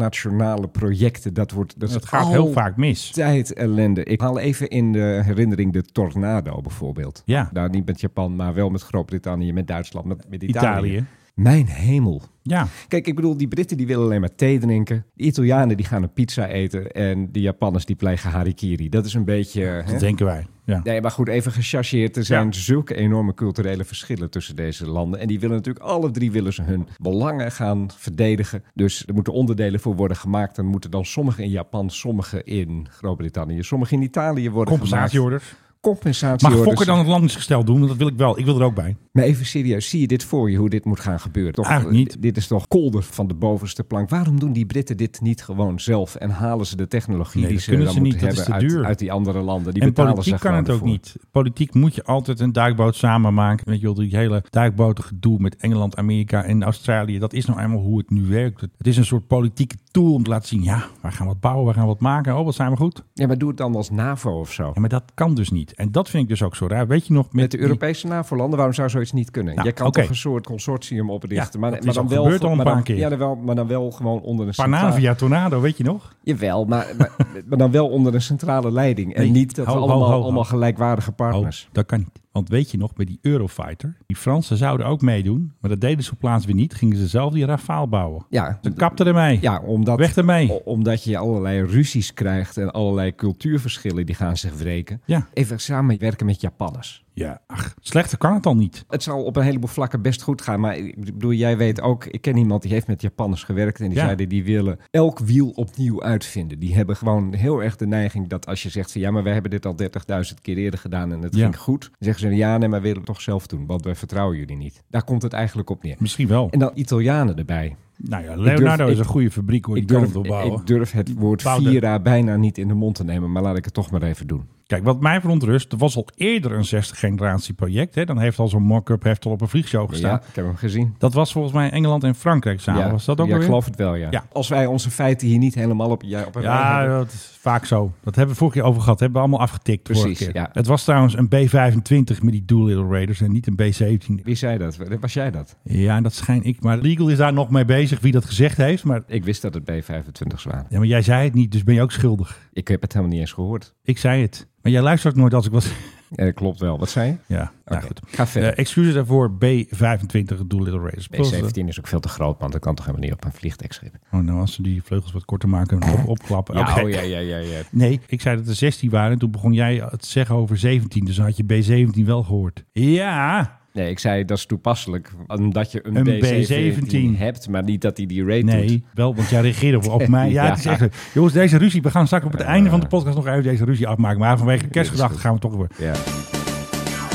supranationale projecten, dat, wordt, dat, is Het gaat heel vaak mis. Tijd ellende. Ik haal even in de herinnering de tornado bijvoorbeeld. Ja. Nou, niet met Japan, maar wel met Groot-Brittannië, met Duitsland, met, met Italië. Italië. Mijn hemel. Ja. Kijk, ik bedoel, die Britten die willen alleen maar thee drinken. De Italianen die gaan een pizza eten. En de Japanners die plegen harikiri. Dat is een beetje... Dat denken wij. Ja. Nee, maar goed, even gechargeerd. Er zijn zulke enorme culturele verschillen tussen deze landen. En die willen natuurlijk, alle drie willen ze hun belangen gaan verdedigen. Dus er moeten onderdelen voor worden gemaakt. En moeten dan sommige in Japan, sommige in Groot-Brittannië, sommige in Italië worden Compensatieorders. gemaakt. Compensatie. Mag Fokker dan het landingsgestel doen? Want dat wil ik wel. Ik wil er ook bij. Maar even serieus, zie je dit voor je hoe dit moet gaan gebeuren? Toch, Eigenlijk niet. d- Dit is toch kolder van de bovenste plank. Waarom doen die Britten dit niet gewoon zelf en halen ze de technologie Nee, die dat ze kunnen dan ze moeten niet. Dat is hebben te uit, duur. uit die andere landen? Die en betalen politiek ze kan gewoon het ook ervoor. niet. Politiek moet je altijd een duikboot samen maken. Weet je wel, die hele duikbotengedoe met Engeland, Amerika en Australië. Dat is nou eenmaal hoe het nu werkt. Het is een soort politieke tool om te laten zien. Ja, wij gaan wat bouwen, wij gaan wat maken. Oh, wat zijn we goed. Ja, maar doe het dan als NAVO of zo. Ja, maar dat kan dus niet. En dat vind ik dus ook zo raar. Weet je nog met, Met de die- Europese NAVO-landen, waarom zou zoiets niet kunnen? Nou, je kan oké. toch een soort consortium oprichten. Ja, maar, dat is maar dan al wel gebeurd voor- al een maar dan- paar keer. Ja, dan wel, maar dan wel gewoon onder een centrale... Panavia Tornado, weet je nog? Jawel, maar, [laughs] maar, maar dan wel onder een centrale leiding. En Nee, niet dat we ho, ho, allemaal, ho, ho. allemaal gelijkwaardige partners... Oh, dat kan niet. Want weet je nog, bij die Eurofighter, die Fransen zouden ook meedoen, maar dat deden ze op plaats weer niet. Gingen ze zelf die Rafale bouwen. Ja, Ze kapten ermee. Ja, Oh. omdat, Weg ermee. o- omdat je allerlei ruzies krijgt en allerlei cultuurverschillen die gaan zich wreken. Ja. Even samenwerken met Japanners. Ja, ach, slechter kan het al niet. Het zal op een heleboel vlakken best goed gaan, maar ik bedoel, jij weet ook, ik ken iemand die heeft met Japanners gewerkt en die Ja. zeiden die willen elk wiel opnieuw uitvinden. Die hebben gewoon heel erg de neiging dat als je zegt van ja, maar wij hebben dit al 30.000 keer eerder gedaan en het Ja. ging goed, dan zeggen ze ja, nee, maar we willen het toch zelf doen, want wij vertrouwen jullie niet. Daar komt het eigenlijk op neer. Misschien wel. En dan Italianen erbij. Nou ja, Ik Leonardo durf- is ik- een goede fabriek hoor. Ik die kan durf, het opbouwen. ik durf het woord Bouw de- Vira bijna niet in de mond te nemen, maar laat ik het toch maar even doen. Kijk, wat mij verontrust, er was al eerder een 60-generatie project. Hè? Dan heeft al zo'n mock-up heeft al op een vliegshow gestaan. Ja, ik heb hem gezien. Dat was volgens mij Engeland en Frankrijk samen. ja, was dat ook ja, alweer? geloof het wel, ja. Ja. Als wij onze feiten hier niet helemaal op, ja, op een rij Ja, hebben. dat is vaak zo. Dat hebben we vorige keer over gehad. Hebben we allemaal afgetikt Precies, vorige keer. ja. Het was trouwens een B-25 met die Doolittle Raiders en niet een B-17. Wie zei dat? Was jij dat? Ja, dat schijn ik. Maar Legal is daar nog mee bezig wie dat gezegd heeft. Maar, Ik wist dat het B25's waren. ja, maar jij zei het niet, dus ben je ook schuldig. Ik heb het helemaal niet eens gehoord. Ik zei het. Maar jij luistert ook nooit als ik was... Ja, dat klopt wel. Wat zei je? Ja, nou Oké, goed. Ga verder. Eh, excuses daarvoor, B-25 Doolittle Raiders. B17 is ook veel te groot, want dat kan toch helemaal niet op een vliegtuigschip. Oh, nou, als ze die vleugels wat korter maken en op, opklappen. Ja, Oké. oh, ja, ja, ja, ja. Nee, ik zei dat er 16 waren. En toen begon jij het te zeggen over 17. Dus dan had je B17 wel gehoord. Ja. Nee, ik zei dat is toepasselijk, omdat je een, Een B17, B17 hebt, maar niet dat hij die rate doet. Nee, wel, want jij reageerde op, [laughs] op mij. Ja, het is echt. zo. Jongens, deze ruzie. We gaan straks op het Eh. einde van de podcast nog even deze ruzie afmaken. Maar vanwege de kerstgedachten gaan we toch weer. Ja.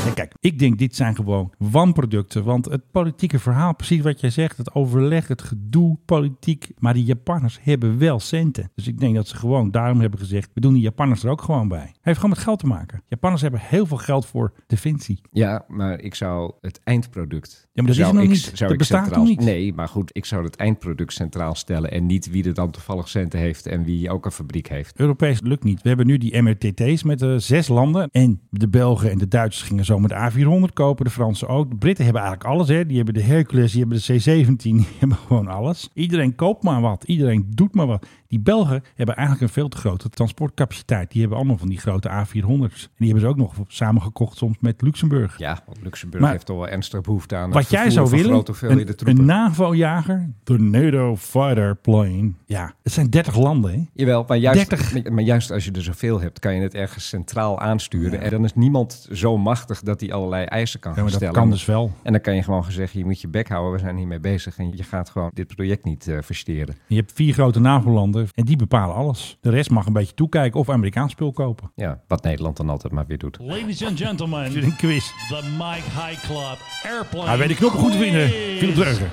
Nee, kijk, ik denk dit zijn gewoon wanproducten. Want het politieke verhaal, precies wat jij zegt, het overleg, het gedoe, politiek. Maar die Japanners hebben wel centen. Dus ik denk dat ze gewoon daarom hebben gezegd, we doen die Japanners er ook gewoon bij. Heeft gewoon met geld te maken. Japanners hebben heel veel geld voor defensie. Ja, maar ik zou het eindproduct. Ja, maar dat zou is er nog ik- niet. zou Dat ik bestaat centraal- nog niet. Nee, maar goed, ik zou het eindproduct centraal stellen. En niet wie er dan toevallig centen heeft en wie ook een fabriek heeft. Europees lukt niet. We hebben nu die MRTT's met eh, zes landen. En de Belgen en de Duitsers gingen zo met de A400 kopen. De Fransen ook. De Britten hebben eigenlijk alles. Hè. Die hebben de Hercules, die hebben de C-17. [laughs] Die hebben gewoon alles. Iedereen koopt maar wat. Iedereen doet maar wat. Die Belgen hebben eigenlijk een veel te grote transportcapaciteit. Die hebben allemaal van die grote A400's. En die hebben ze ook nog samengekocht soms met Luxemburg. Ja, want Luxemburg Maar- heeft toch wel ernstig behoefte aan. het Wat jij vervoer zou van willen, grote hoeveelheden een, troepen. een NAVO-jager, Tornado Fighter Plane. Ja, het zijn 30 landen. Hè? Jawel, maar juist, 30. maar juist als je er zoveel hebt, kan je het ergens centraal aansturen. En dan is niemand zo machtig dat hij allerlei eisen kan Ja, maar gaan dat stellen. kan dus wel. En dan kan je gewoon zeggen, je moet je bek houden, we zijn hiermee bezig. En je gaat gewoon dit project niet eh, versteren. Je hebt vier grote NAVO-landen en die bepalen alles. De rest mag een beetje toekijken of Amerikaans spul kopen. Ja, wat Nederland dan altijd maar weer doet. Ladies and Dit gentlemen, is een quiz. the Mike High Club Airplane. Hij weet de knoppen goed te vinden. Philip Dreugen.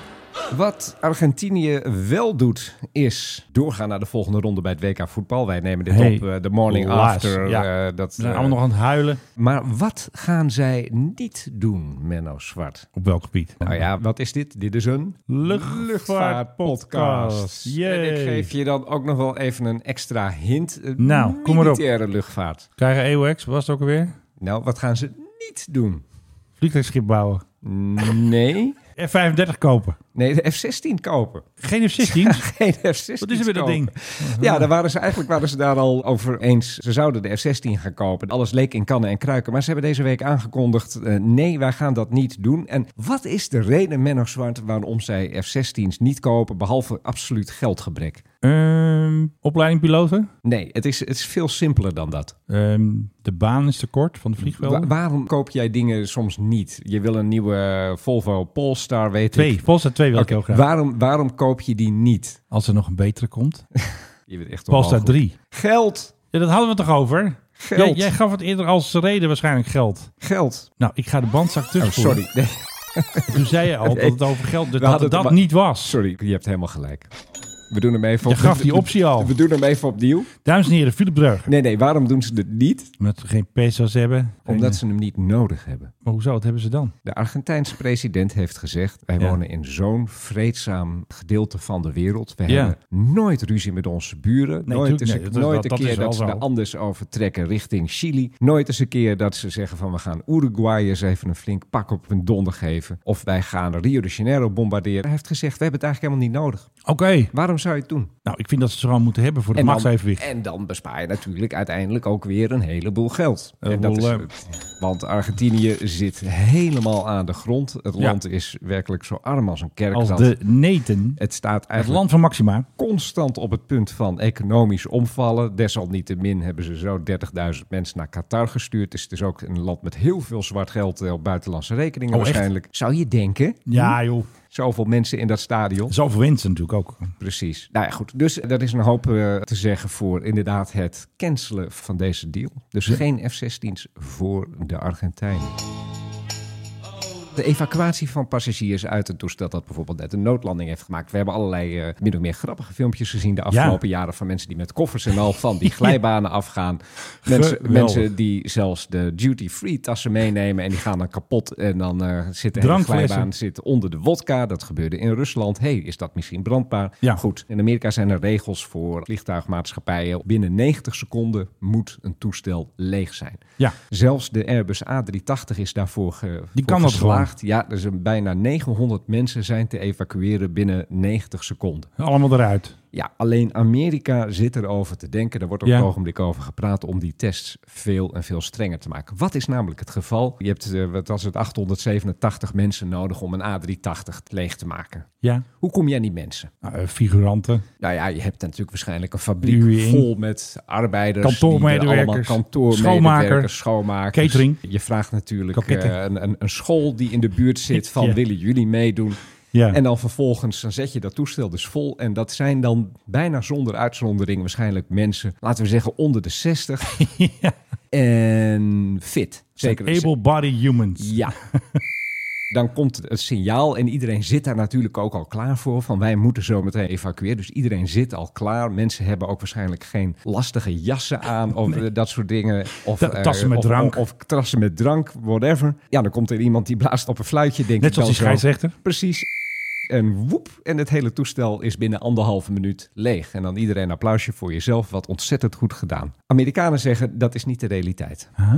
Wat Argentinië wel doet, is doorgaan naar de volgende ronde bij het WK voetbal. Wij nemen dit Hey, op eh, de morning laat. after. Ja. eh, dat, We zijn eh, allemaal nog aan het huilen. Maar wat gaan zij niet doen, Menno Zwart? Op welk gebied? Nou ja, wat is dit? Dit is een luchtvaartpodcast. Yay. En ik geef je dan ook nog wel even een extra hint. Eh, Nou, kom maar op. Militaire luchtvaart. E Krijgen EOX, was het ook alweer? Nou, wat gaan ze niet doen? Vliegtuigschip bouwen. Nee. F35 kopen. Nee, de F-16 kopen. Geen F-16? [laughs] Geen F-16 Wat is er weer dat kopen. ding? Ja, daar waren ze, eigenlijk waren ze daar al over eens. Ze zouden de F-16 gaan kopen. Alles leek in kannen en kruiken. Maar ze hebben deze week aangekondigd... eh, nee, wij gaan dat niet doen. En wat is de reden, Menno Zwart... waarom zij F-16's niet kopen... behalve absoluut geldgebrek? Ehm, opleiding piloten? Ehm, Nee, het is, het is veel simpeler dan dat. de baan is te kort van de vliegvelden. Wa- waarom koop jij dingen soms niet? Je wil een nieuwe Volvo Polestar, weet Twee. ik. Polestar 2 wil ik Oké, heel graag. Waarom, waarom koop je die niet? Als er nog een betere komt. Je bent echt Polestar onmogelijk. 3. Geld. Ja, dat hadden we toch over? Geld. Jij, jij gaf het eerder als reden waarschijnlijk geld. Geld. Nou, ik ga de bandzak Oh, terugvoeren. sorry. Nee. Toen zei [laughs] je al dat het over geld... We Dat dat, hadden het het dat maar- niet was. Sorry, je hebt helemaal gelijk. We doen hem even Je gaf die optie al. We doen hem even opnieuw. Dames en heren, Philip Dreuger. Nee, nee, waarom doen ze dit niet? Omdat we geen peso's hebben. Geen- Omdat ze hem niet nodig hebben. Maar hoezo? Wat hebben ze dan? De Argentijnse president heeft gezegd: wij Ja. wonen in zo'n vreedzaam gedeelte van de wereld. We Ja. hebben nooit ruzie met onze buren. Nee, nooit tuurlijk eens, niet. Dat is wel- nooit dat een is keer wel dat ze zo. er anders over trekken richting Chili. Nooit eens een keer dat ze zeggen van we gaan Uruguay eens even een flink pak op hun donder geven. Of wij gaan Rio de Janeiro bombarderen. Hij heeft gezegd: we hebben het eigenlijk helemaal niet nodig. Oké. Waarom zou je het doen? Nou, ik vind dat ze ze gewoon moeten hebben voor het dan, machtsevenwicht. en dan bespaar je natuurlijk uiteindelijk ook weer een heleboel geld. Een En dat is, heleboel, het. want Argentinië zit helemaal aan de grond. Het Ja. land is werkelijk zo arm als een kerk. Als dat de neten. Het staat Het eigenlijk land van Maxima. constant op het punt van economisch omvallen. Desalniettemin hebben ze zo 30.000 mensen naar Qatar gestuurd. Dus het is ook een land met heel veel zwart geld eh, op buitenlandse rekeningen Oh, echt? waarschijnlijk. Zou je denken? Ja, joh. Zoveel mensen in dat stadion. Zoveel winsten natuurlijk ook. Precies. Nou ja, goed. Dus er is een hoop eh, te zeggen voor inderdaad het cancelen van deze deal. Dus geen F-16's voor de Argentijnen. De evacuatie van passagiers uit het toestel dat bijvoorbeeld net een noodlanding heeft gemaakt. We hebben allerlei eh min of meer grappige filmpjes gezien de afgelopen jaren van mensen die met koffers en al [laughs] van die glijbanen afgaan. Mensen, Geweldig. mensen die zelfs de duty-free tassen meenemen en die gaan dan kapot en dan eh zit de hele Drankflessen. glijbaan zit onder de wodka. Dat gebeurde in Rusland. hey, is dat misschien brandbaar? Ja. Goed, in Amerika zijn er regels voor vliegtuigmaatschappijen. Binnen 90 seconden moet een toestel leeg zijn. Ja. Zelfs de Airbus A380 is daarvoor ge, Die voor kan dat geslaagd. Ja, er zijn bijna 900 mensen zijn te evacueren binnen 90 seconden. Allemaal eruit. Ja, alleen Amerika zit erover te denken. Daar wordt op Ja. het ogenblik over gepraat om die tests veel en veel strenger te maken. Wat is namelijk het geval? Je hebt eh, wat was het, 887 mensen nodig om een A380 leeg te maken. Ja. Hoe kom je aan die mensen? Nou, eh, figuranten. Nou ja, je hebt natuurlijk waarschijnlijk een fabriek Huurling. vol met arbeiders, die er Kantoormedewerkers, allemaal kantoormedewerkers, schoonmaker, schoonmakers. catering. Je vraagt natuurlijk Koketten. eh, een, een, een school die in de buurt zit van Ja. willen jullie meedoen? Ja. En dan vervolgens dan zet je dat toestel dus vol. En dat zijn dan bijna zonder uitzondering waarschijnlijk mensen, laten we zeggen onder de 60. [laughs] En fit. Zeker. Able-bodied humans. Ja. [laughs] Dan komt het signaal en iedereen zit daar natuurlijk ook al klaar voor. Van wij moeten zo meteen evacueren. Dus iedereen zit al klaar. Mensen hebben ook waarschijnlijk geen lastige jassen aan of eh, dat soort dingen. Of Ta- eh, tassen met of- drank. Of, of tassen met drank, whatever. Ja, dan komt er iemand die blaast op een fluitje. Denk Net ik dan zoals die zo. scheidsrechter. Precies. En woep, en het hele toestel is binnen anderhalve minuut leeg. En dan iedereen een applausje voor jezelf, wat ontzettend goed gedaan. Amerikanen zeggen dat is niet de realiteit. Ah.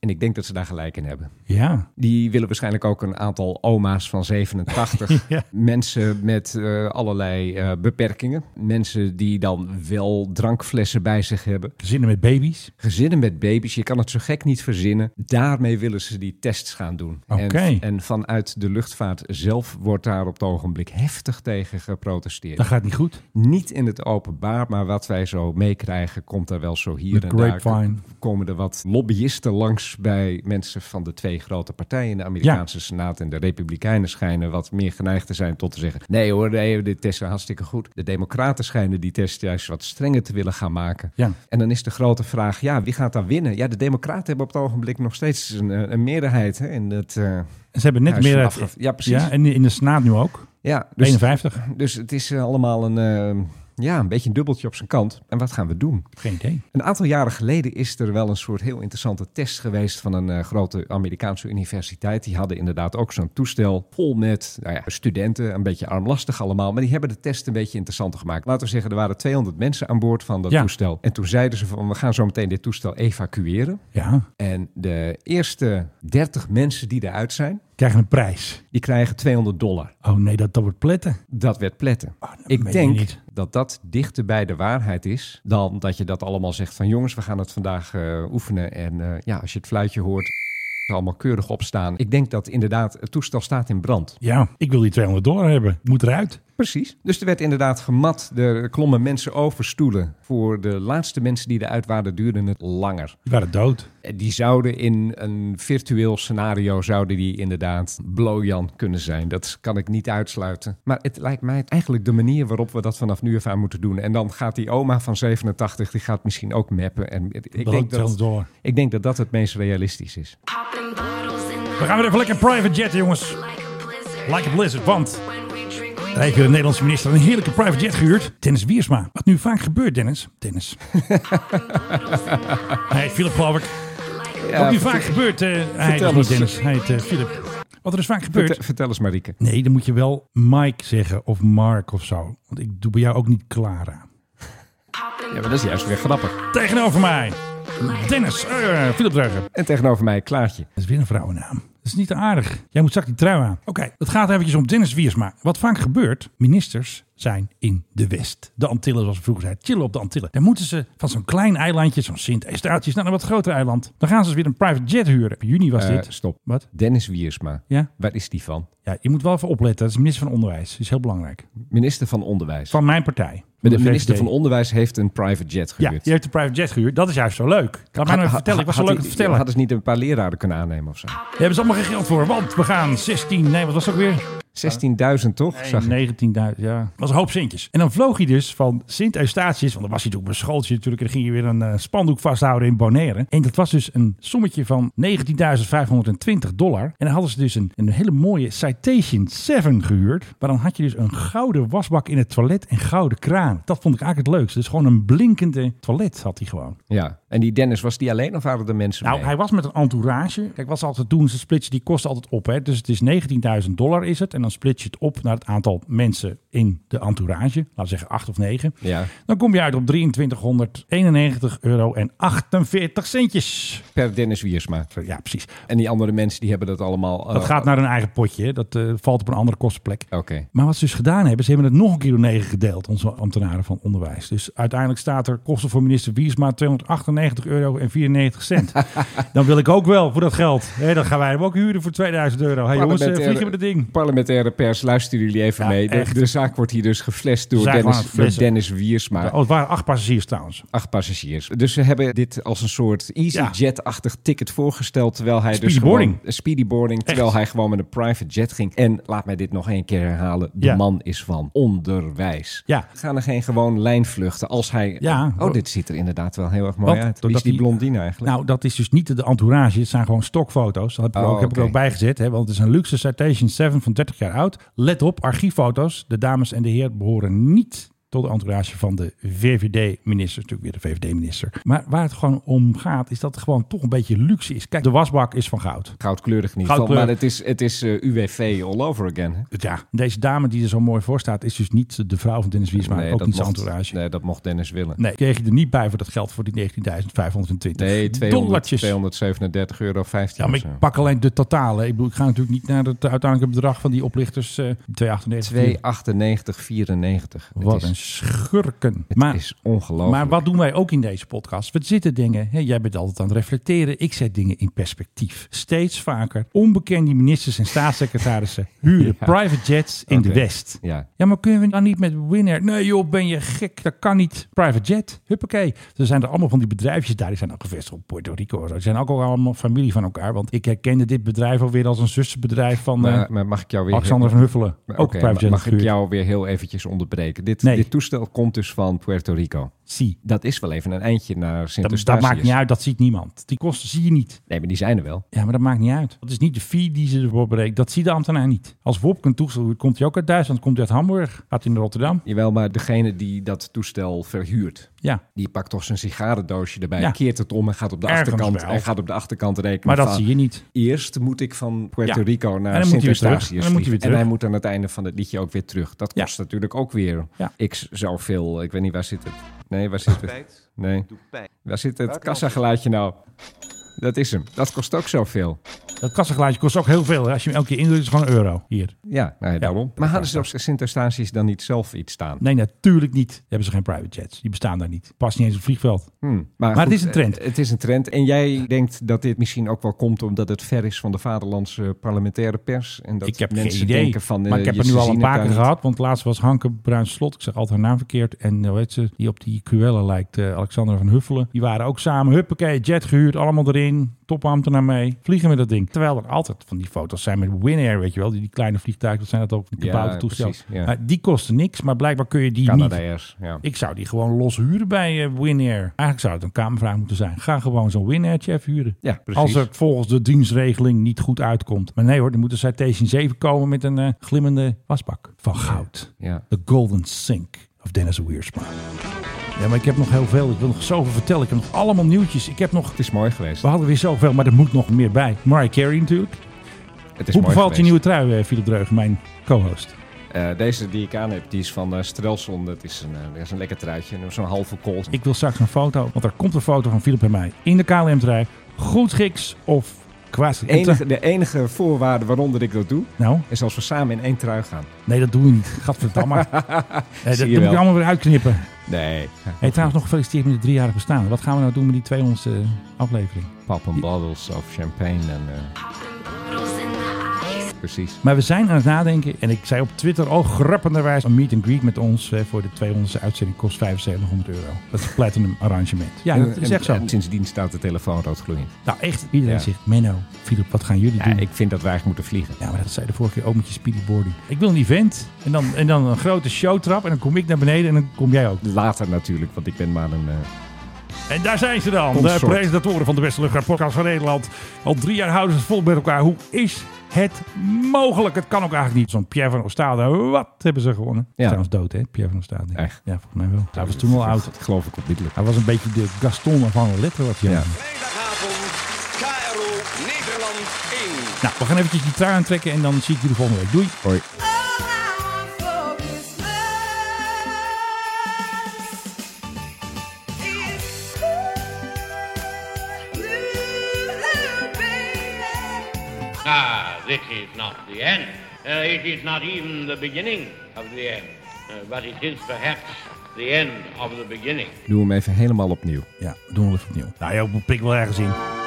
En ik denk dat ze daar gelijk in hebben. Ja. Die willen waarschijnlijk ook een aantal oma's van 87. [laughs] Ja. Mensen met eh, allerlei eh, beperkingen. Mensen die dan wel drankflessen bij zich hebben. Gezinnen met baby's. Gezinnen met baby's, je kan het zo gek niet verzinnen. Daarmee willen ze die tests gaan doen. Oké. En, en vanuit de luchtvaart zelf wordt daar op het ogenblik heftig tegen geprotesteerd. Dat gaat niet goed. Niet in het openbaar, maar wat wij zo meekrijgen, komt daar wel zo hier Met en daar. grapevine. Komen er wat lobbyisten langs bij mensen van de twee grote partijen, de Amerikaanse Senaat en de Republikeinen, schijnen wat meer geneigd te zijn tot te zeggen: nee hoor, nee, dit testen hartstikke goed. De Democraten schijnen die test juist wat strenger te willen gaan maken. Ja. En dan is de grote vraag: ja, wie gaat daar winnen? Ja, de Democraten hebben op het ogenblik nog steeds een, eh, een meerderheid hè, in het. eh, En ze hebben net Huis meer... van uit- afgef- Ja, precies. Ja, en in de Senaat nu ook. ja, dus- 51. dus het is eh, allemaal een, eh, ja, een beetje een dubbeltje op zijn kant. En wat gaan we doen? Geen idee. Een aantal jaren geleden is er wel een soort heel interessante test geweest van een eh, grote Amerikaanse universiteit. Die hadden inderdaad ook zo'n toestel vol met nou ja, studenten, een beetje armlastig allemaal. Maar die hebben de test een beetje interessanter gemaakt. Laten we zeggen, er waren 200 mensen aan boord van dat Ja. toestel. En toen zeiden ze van, we gaan zo meteen dit toestel evacueren. Ja. En de eerste 30 mensen die eruit zijn, krijgen een prijs. Die krijgen 200 dollar. Oh nee, dat, dat wordt pletten. Dat werd pletten. ik Ah, meen denk je niet. dat dat dichter bij de waarheid is dan dat je dat allemaal zegt van jongens, we gaan het vandaag eh, oefenen. En eh, ja, als je het fluitje hoort, [laughs] allemaal keurig opstaan. Ik denk dat inderdaad het toestel staat in brand. Ja, ik wil die 200 dollar hebben. Ik Moet eruit. Precies. Dus er werd inderdaad gemat. Er klommen mensen over stoelen. Voor de laatste mensen die eruit waren, duurde het langer. Die waren dood. En Eh, Die zouden in een virtueel scenario, zouden die inderdaad blojan kunnen zijn. Dat kan ik niet uitsluiten. Maar het lijkt mij eigenlijk de manier waarop we dat vanaf nu af aan moeten doen. En dan gaat die oma van 87, die gaat misschien ook mappen. En ik, ik Bloot denk dat, zelfs door. ik denk dat dat het meest realistisch is. We gaan weer even lekker private jetten, jongens. Like a blizzard, want... Daar heeft de Nederlandse minister een heerlijke private jet gehuurd. Dennis Wiersma. Wat nu vaak gebeurt, Dennis. Dennis. Hij heet Philip, geloof ik. Wat nu vertel- vaak gebeurt... eh, hij vertel heet niet eens. Dennis, hij heet eh, Philip. Wat er dus vaak gebeurt... Vertel, vertel eens, Marieke. Nee, dan moet je wel Mike zeggen of Mark of zo. Want ik doe bij jou ook niet Clara. Ja, maar dat is juist weer grappig. Tegenover mij, Dennis, eh Philip Dreugen. En tegenover mij, Klaartje. Dat is weer een vrouwennaam. Dat is niet te aardig. Jij moet straks die trui aan. Oké, het gaat eventjes om Dennis Wiersma. Wat vaak gebeurt, ministers zijn in de West. De Antillen, zoals we vroeger zeiden, chillen op de Antillen. Dan moeten ze van zo'n klein eilandje, zo'n Sint-Eustatius, naar een wat groter eiland. Dan gaan ze dus weer een private jet huren. In juni was Eh, dit. stop. Wat? Dennis Wiersma. Ja? Waar is die van? ja, je moet wel even opletten. Dat is minister van Onderwijs. Dat is heel belangrijk. Minister van Onderwijs. Van mijn partij. de VVD. minister van Onderwijs heeft een private jet Ja, gehuurd. die heeft een private jet gehuurd. Dat is juist zo leuk. Laat mij nou even Had- vertellen. Ik was zo had- leuk om had- te vertellen. Hadden ze niet een paar leraren kunnen aannemen of zo? Daar hebben ze allemaal geen geld voor. Want we gaan 16... Nee, wat was het ook weer? 16.000 toch? Zag ik. Nee, 19.000, ja. was een hoop zintjes. En dan vloog hij dus van Sint-Eustatius, want dan was hij natuurlijk op een schooltje natuurlijk, en dan ging hij weer een eh, spandoek vasthouden in Bonaire. En dat was dus een sommetje van 19.520 dollar. En dan hadden ze dus een, een hele mooie Citation 7 gehuurd. Maar dan had je dus een gouden wasbak in het toilet en gouden kraan. Dat vond ik eigenlijk het leukste. Dus gewoon een blinkende toilet had hij gewoon. Ja. En die Dennis, was die alleen of waren er mensen Nou, mee? hij was met een entourage. Kijk, wat ze altijd doen, ze splitsen die kosten altijd op. Hè? Dus het is 19.000 dollar is het. En dan split je het op naar het aantal mensen in de entourage. Laten we zeggen 8 of 9. Ja, Dan kom je uit op 2391 euro en 48 centjes. per Dennis Wiersma. Ja, precies. En die andere mensen die hebben dat allemaal... eh, Dat gaat naar hun eigen potje. hè. Dat eh, valt op een andere kostenplek. Oké. Maar wat ze dus gedaan hebben, ze hebben het nog een keer door 9 gedeeld, onze ambtenaren van onderwijs. Dus uiteindelijk staat er kosten voor minister Wiersma 298 euro en 94 cent. Dan wil ik ook wel voor dat geld. Hé, dan gaan wij hem ook huren voor 2000 euro. Hey, jongens, eh, vliegen we dat ding. Parlementaire pers, luisteren jullie even Ja, mee. De, echt. de zaak wordt hier dus geflasht door, Ze zijn gewoon aan Dennis, het door flessen. Dennis Wiersma. Oh, het waren acht passagiers trouwens. Acht passagiers. Dus ze hebben dit als een soort EasyJet-achtig ticket voorgesteld. Terwijl hij dus Speedy gewoon- boarding. Een speedy boarding. Terwijl hij gewoon met een private jet ging. En laat mij dit nog één keer herhalen. De Ja. man is van onderwijs. Ja. Gaan er geen gewoon lijnvluchten als hij... Ja. Oh, dit ziet er inderdaad wel heel erg mooi Want uit. Wie is doordat die die- blondine eigenlijk? Nou, dat is dus niet de entourage. Het zijn gewoon stokfoto's. Dat heb ik, Oh, ook, heb oké. ik ook bijgezet. Hè, want het is een luxe Citation 7 van 30 jaar oud. Let op, archieffoto's. De dames en de heer behoren niet tot de entourage van de VVD-minister. Dat is Natuurlijk weer de VVD-minister. Maar waar het gewoon om gaat, is dat het gewoon toch een beetje luxe is. Kijk, de wasbak is van goud. Goudkleurig niet. Goudkleurig. Maar het is, het is eh, UWV all over again. hè? Ja, deze dame die er zo mooi voor staat, is dus niet de vrouw van Dennis Wiesma. ook niet zijn entourage. nee, dat mocht Dennis willen. Nee, kreeg je er niet bij voor dat geld voor die 19.520 Nee, 200, dollartjes. 237,15 euro. Ja, maar ik pak alleen de totale. Ik, bedoel, ik ga natuurlijk niet naar het uiteindelijke bedrag van die oplichters. eh 298. 298,94. Het Wat is- een schurken. Het Maar, is ongelooflijk. maar wat doen wij ook in deze podcast? We zitten dingen, hè, jij bent altijd aan het reflecteren. Ik zet dingen in perspectief. Steeds vaker onbekende ministers en [laughs] staatssecretarissen huren private jets in de Oké. West. Ja. Ja, maar kunnen we dan niet met Winner? Nee joh, ben je gek? Dat kan niet. Private jet, huppakee. Er zijn er allemaal van die bedrijfjes daar. Die zijn al gevestigd op Puerto Rico. Ze zijn ook al allemaal familie van elkaar. Want ik herkende dit bedrijf alweer als een zussenbedrijf van eh, Maar, maar mag ik jou weer... Alexander van Huffelen. Maar ook oké, een private jet mag ik gehuurd. jou weer heel eventjes onderbreken? Dit, Nee. dit toestel komt dus van Puerto Rico. Zie. Dat is wel even een eindje naar sint Dat, dat maakt niet uit, dat ziet niemand. Die kosten zie je niet. Nee, maar die zijn er wel. Ja, maar dat maakt niet uit. Dat is niet de fee die ze ervoor berekenen. Dat ziet de ambtenaar niet. Als Wopke een toestel huurt, komt hij ook uit Duitsland, komt hij uit Hamburg, gaat hij naar Rotterdam. Jawel, maar degene die dat toestel verhuurt... Ja, Die pakt toch zijn sigarendoosje erbij, Ja. keert het om en gaat op de Ergens achterkant wel. en gaat op de achterkant rekenen. maar dat van, zie je niet. Eerst moet ik van Puerto Ja. Rico En naar dan moet hij weer Sint-Eustatius terug. En dan moet hij weer vliegen. En terug. hij moet aan het einde van het liedje ook weer terug. Dat Ja. kost natuurlijk ook weer Ja. x zoveel. Ik weet niet, waar zit het? Nee, waar zit het? Nee. Waar zit het kassageluidje nou? Dat is hem. Dat kost ook zoveel. Dat kassengeluidje kost ook heel veel. Hè? Als je hem elke keer indrukt, is het gewoon een euro. Hier. Ja, nou ja, daarom. Maar hadden ze op Sint Eustatius dan niet zelf iets staan? Nee, natuurlijk niet. Daar hebben ze geen private jets. Die bestaan daar niet. Past niet eens op het vliegveld. Hmm, Maar, goed, het is een trend. eh, Het is een trend. En jij denkt dat dit misschien ook wel komt omdat het ver is van de vaderlandse parlementaire pers. En dat ik heb mensen geen idee. denken van. eh, maar ik heb je- er nu ze al zien een het paar daar keer niet. gehad. Want laatst was Hanke Bruin Slot. Ik zeg altijd haar naam verkeerd. En eh, weet ze, die op die Cruella lijkt, eh, Alexander van Huffelen. Die waren ook samen. Huppakee, jet gehuurd. Allemaal erin. Topambtenaar mee. Vliegen met dat ding. Terwijl er altijd van die foto's zijn met Winair, weet je wel. Die, die kleine vliegtuigen, dat zijn dat ook. Die Ja, kabouter toestellen. precies, ja. Maar die kosten niks. Maar blijkbaar kun je die Canadairs, niet. ja. Ik zou die gewoon los huren bij eh Winair. Eigenlijk zou het een kamervraag moeten zijn. Ga gewoon zo'n Winairtje even huren. Ja, precies. Als het volgens de dienstregeling niet goed uitkomt. Maar nee hoor, dan moet een Citation 7 komen met een eh, glimmende wasbak van goud. Ja. The Golden Sink of Dennis Wiersma. Ja, maar ik heb nog heel veel. Ik wil nog zoveel vertellen. Ik heb nog allemaal nieuwtjes. Ik heb nog... Het is mooi geweest. We hadden weer zoveel, maar er moet nog meer bij. Mariah Carey natuurlijk. Het is Hoe mooi bevalt je geweest. nieuwe trui, eh, Philip Dreugen, mijn co-host? Eh, deze die ik aan heb, die is van eh Strelson. Dat is een, eh, dat is een lekker truitje. En Zo'n halve kool. Ik wil straks een foto, want er komt een foto van Philip en mij in de KLM-trui. Goed giks of quasi. Enige, de enige voorwaarde waaronder ik dat doe, Nou? is als we samen in één trui gaan. Nee, dat doen we niet. [laughs] Gadverdamme. Eh, dat Zie je moet ik wel. allemaal weer uitknippen. Nee. Hey, trouwens, nog gefeliciteerd met het driejarig bestaan. Wat gaan we nou doen met die 200 e aflevering? Pap en bottles of champagne en... eh, Precies. Maar we zijn aan het nadenken. En ik zei op Twitter al grappenderwijs... een meet and greet met ons eh, voor de 200 e uitzending kost 7500 euro. Dat is een platinum arrangement. Ja, En- dat is en- echt zo. En sindsdien staat de telefoon roodgloeiend. Nou, echt. Iedereen Ja. zegt, Menno, Filip, wat gaan jullie Ja, doen? ik vind dat wij echt moeten vliegen. Ja, maar dat zei de vorige keer ook met je speedboarding. Ik wil een event en dan, en dan een grote showtrap. En dan kom ik naar beneden en dan kom jij ook. Later natuurlijk, want ik ben maar een... eh, En daar zijn ze dan, de Consort. presentatoren van de Beste Luchtvaart Podcast van Nederland. Al drie jaar houden ze het vol met elkaar. Hoe is het mogelijk? Het kan ook eigenlijk niet. Zo'n Pierre van Oostade, wat hebben ze gewonnen? Ja. Trouwens dood, hè? Pierre van Oostade. Echt? Ja, volgens mij wel. Hij was toen al oud. Dat geloof ik onmiddellijk. Hij was een beetje de Gaston van de letter, wat je Ja. KRO Nederland 1. Nou, we gaan eventjes die trui aantrekken en dan zie ik jullie volgende week. Doei. Hoi. Ah, this is not the end. Uh, it is not even the beginning of the end. Uh, but it is perhaps the end of the beginning. Doe hem even helemaal opnieuw. Ja, doen we even opnieuw. Nou, je pik wel ergens in.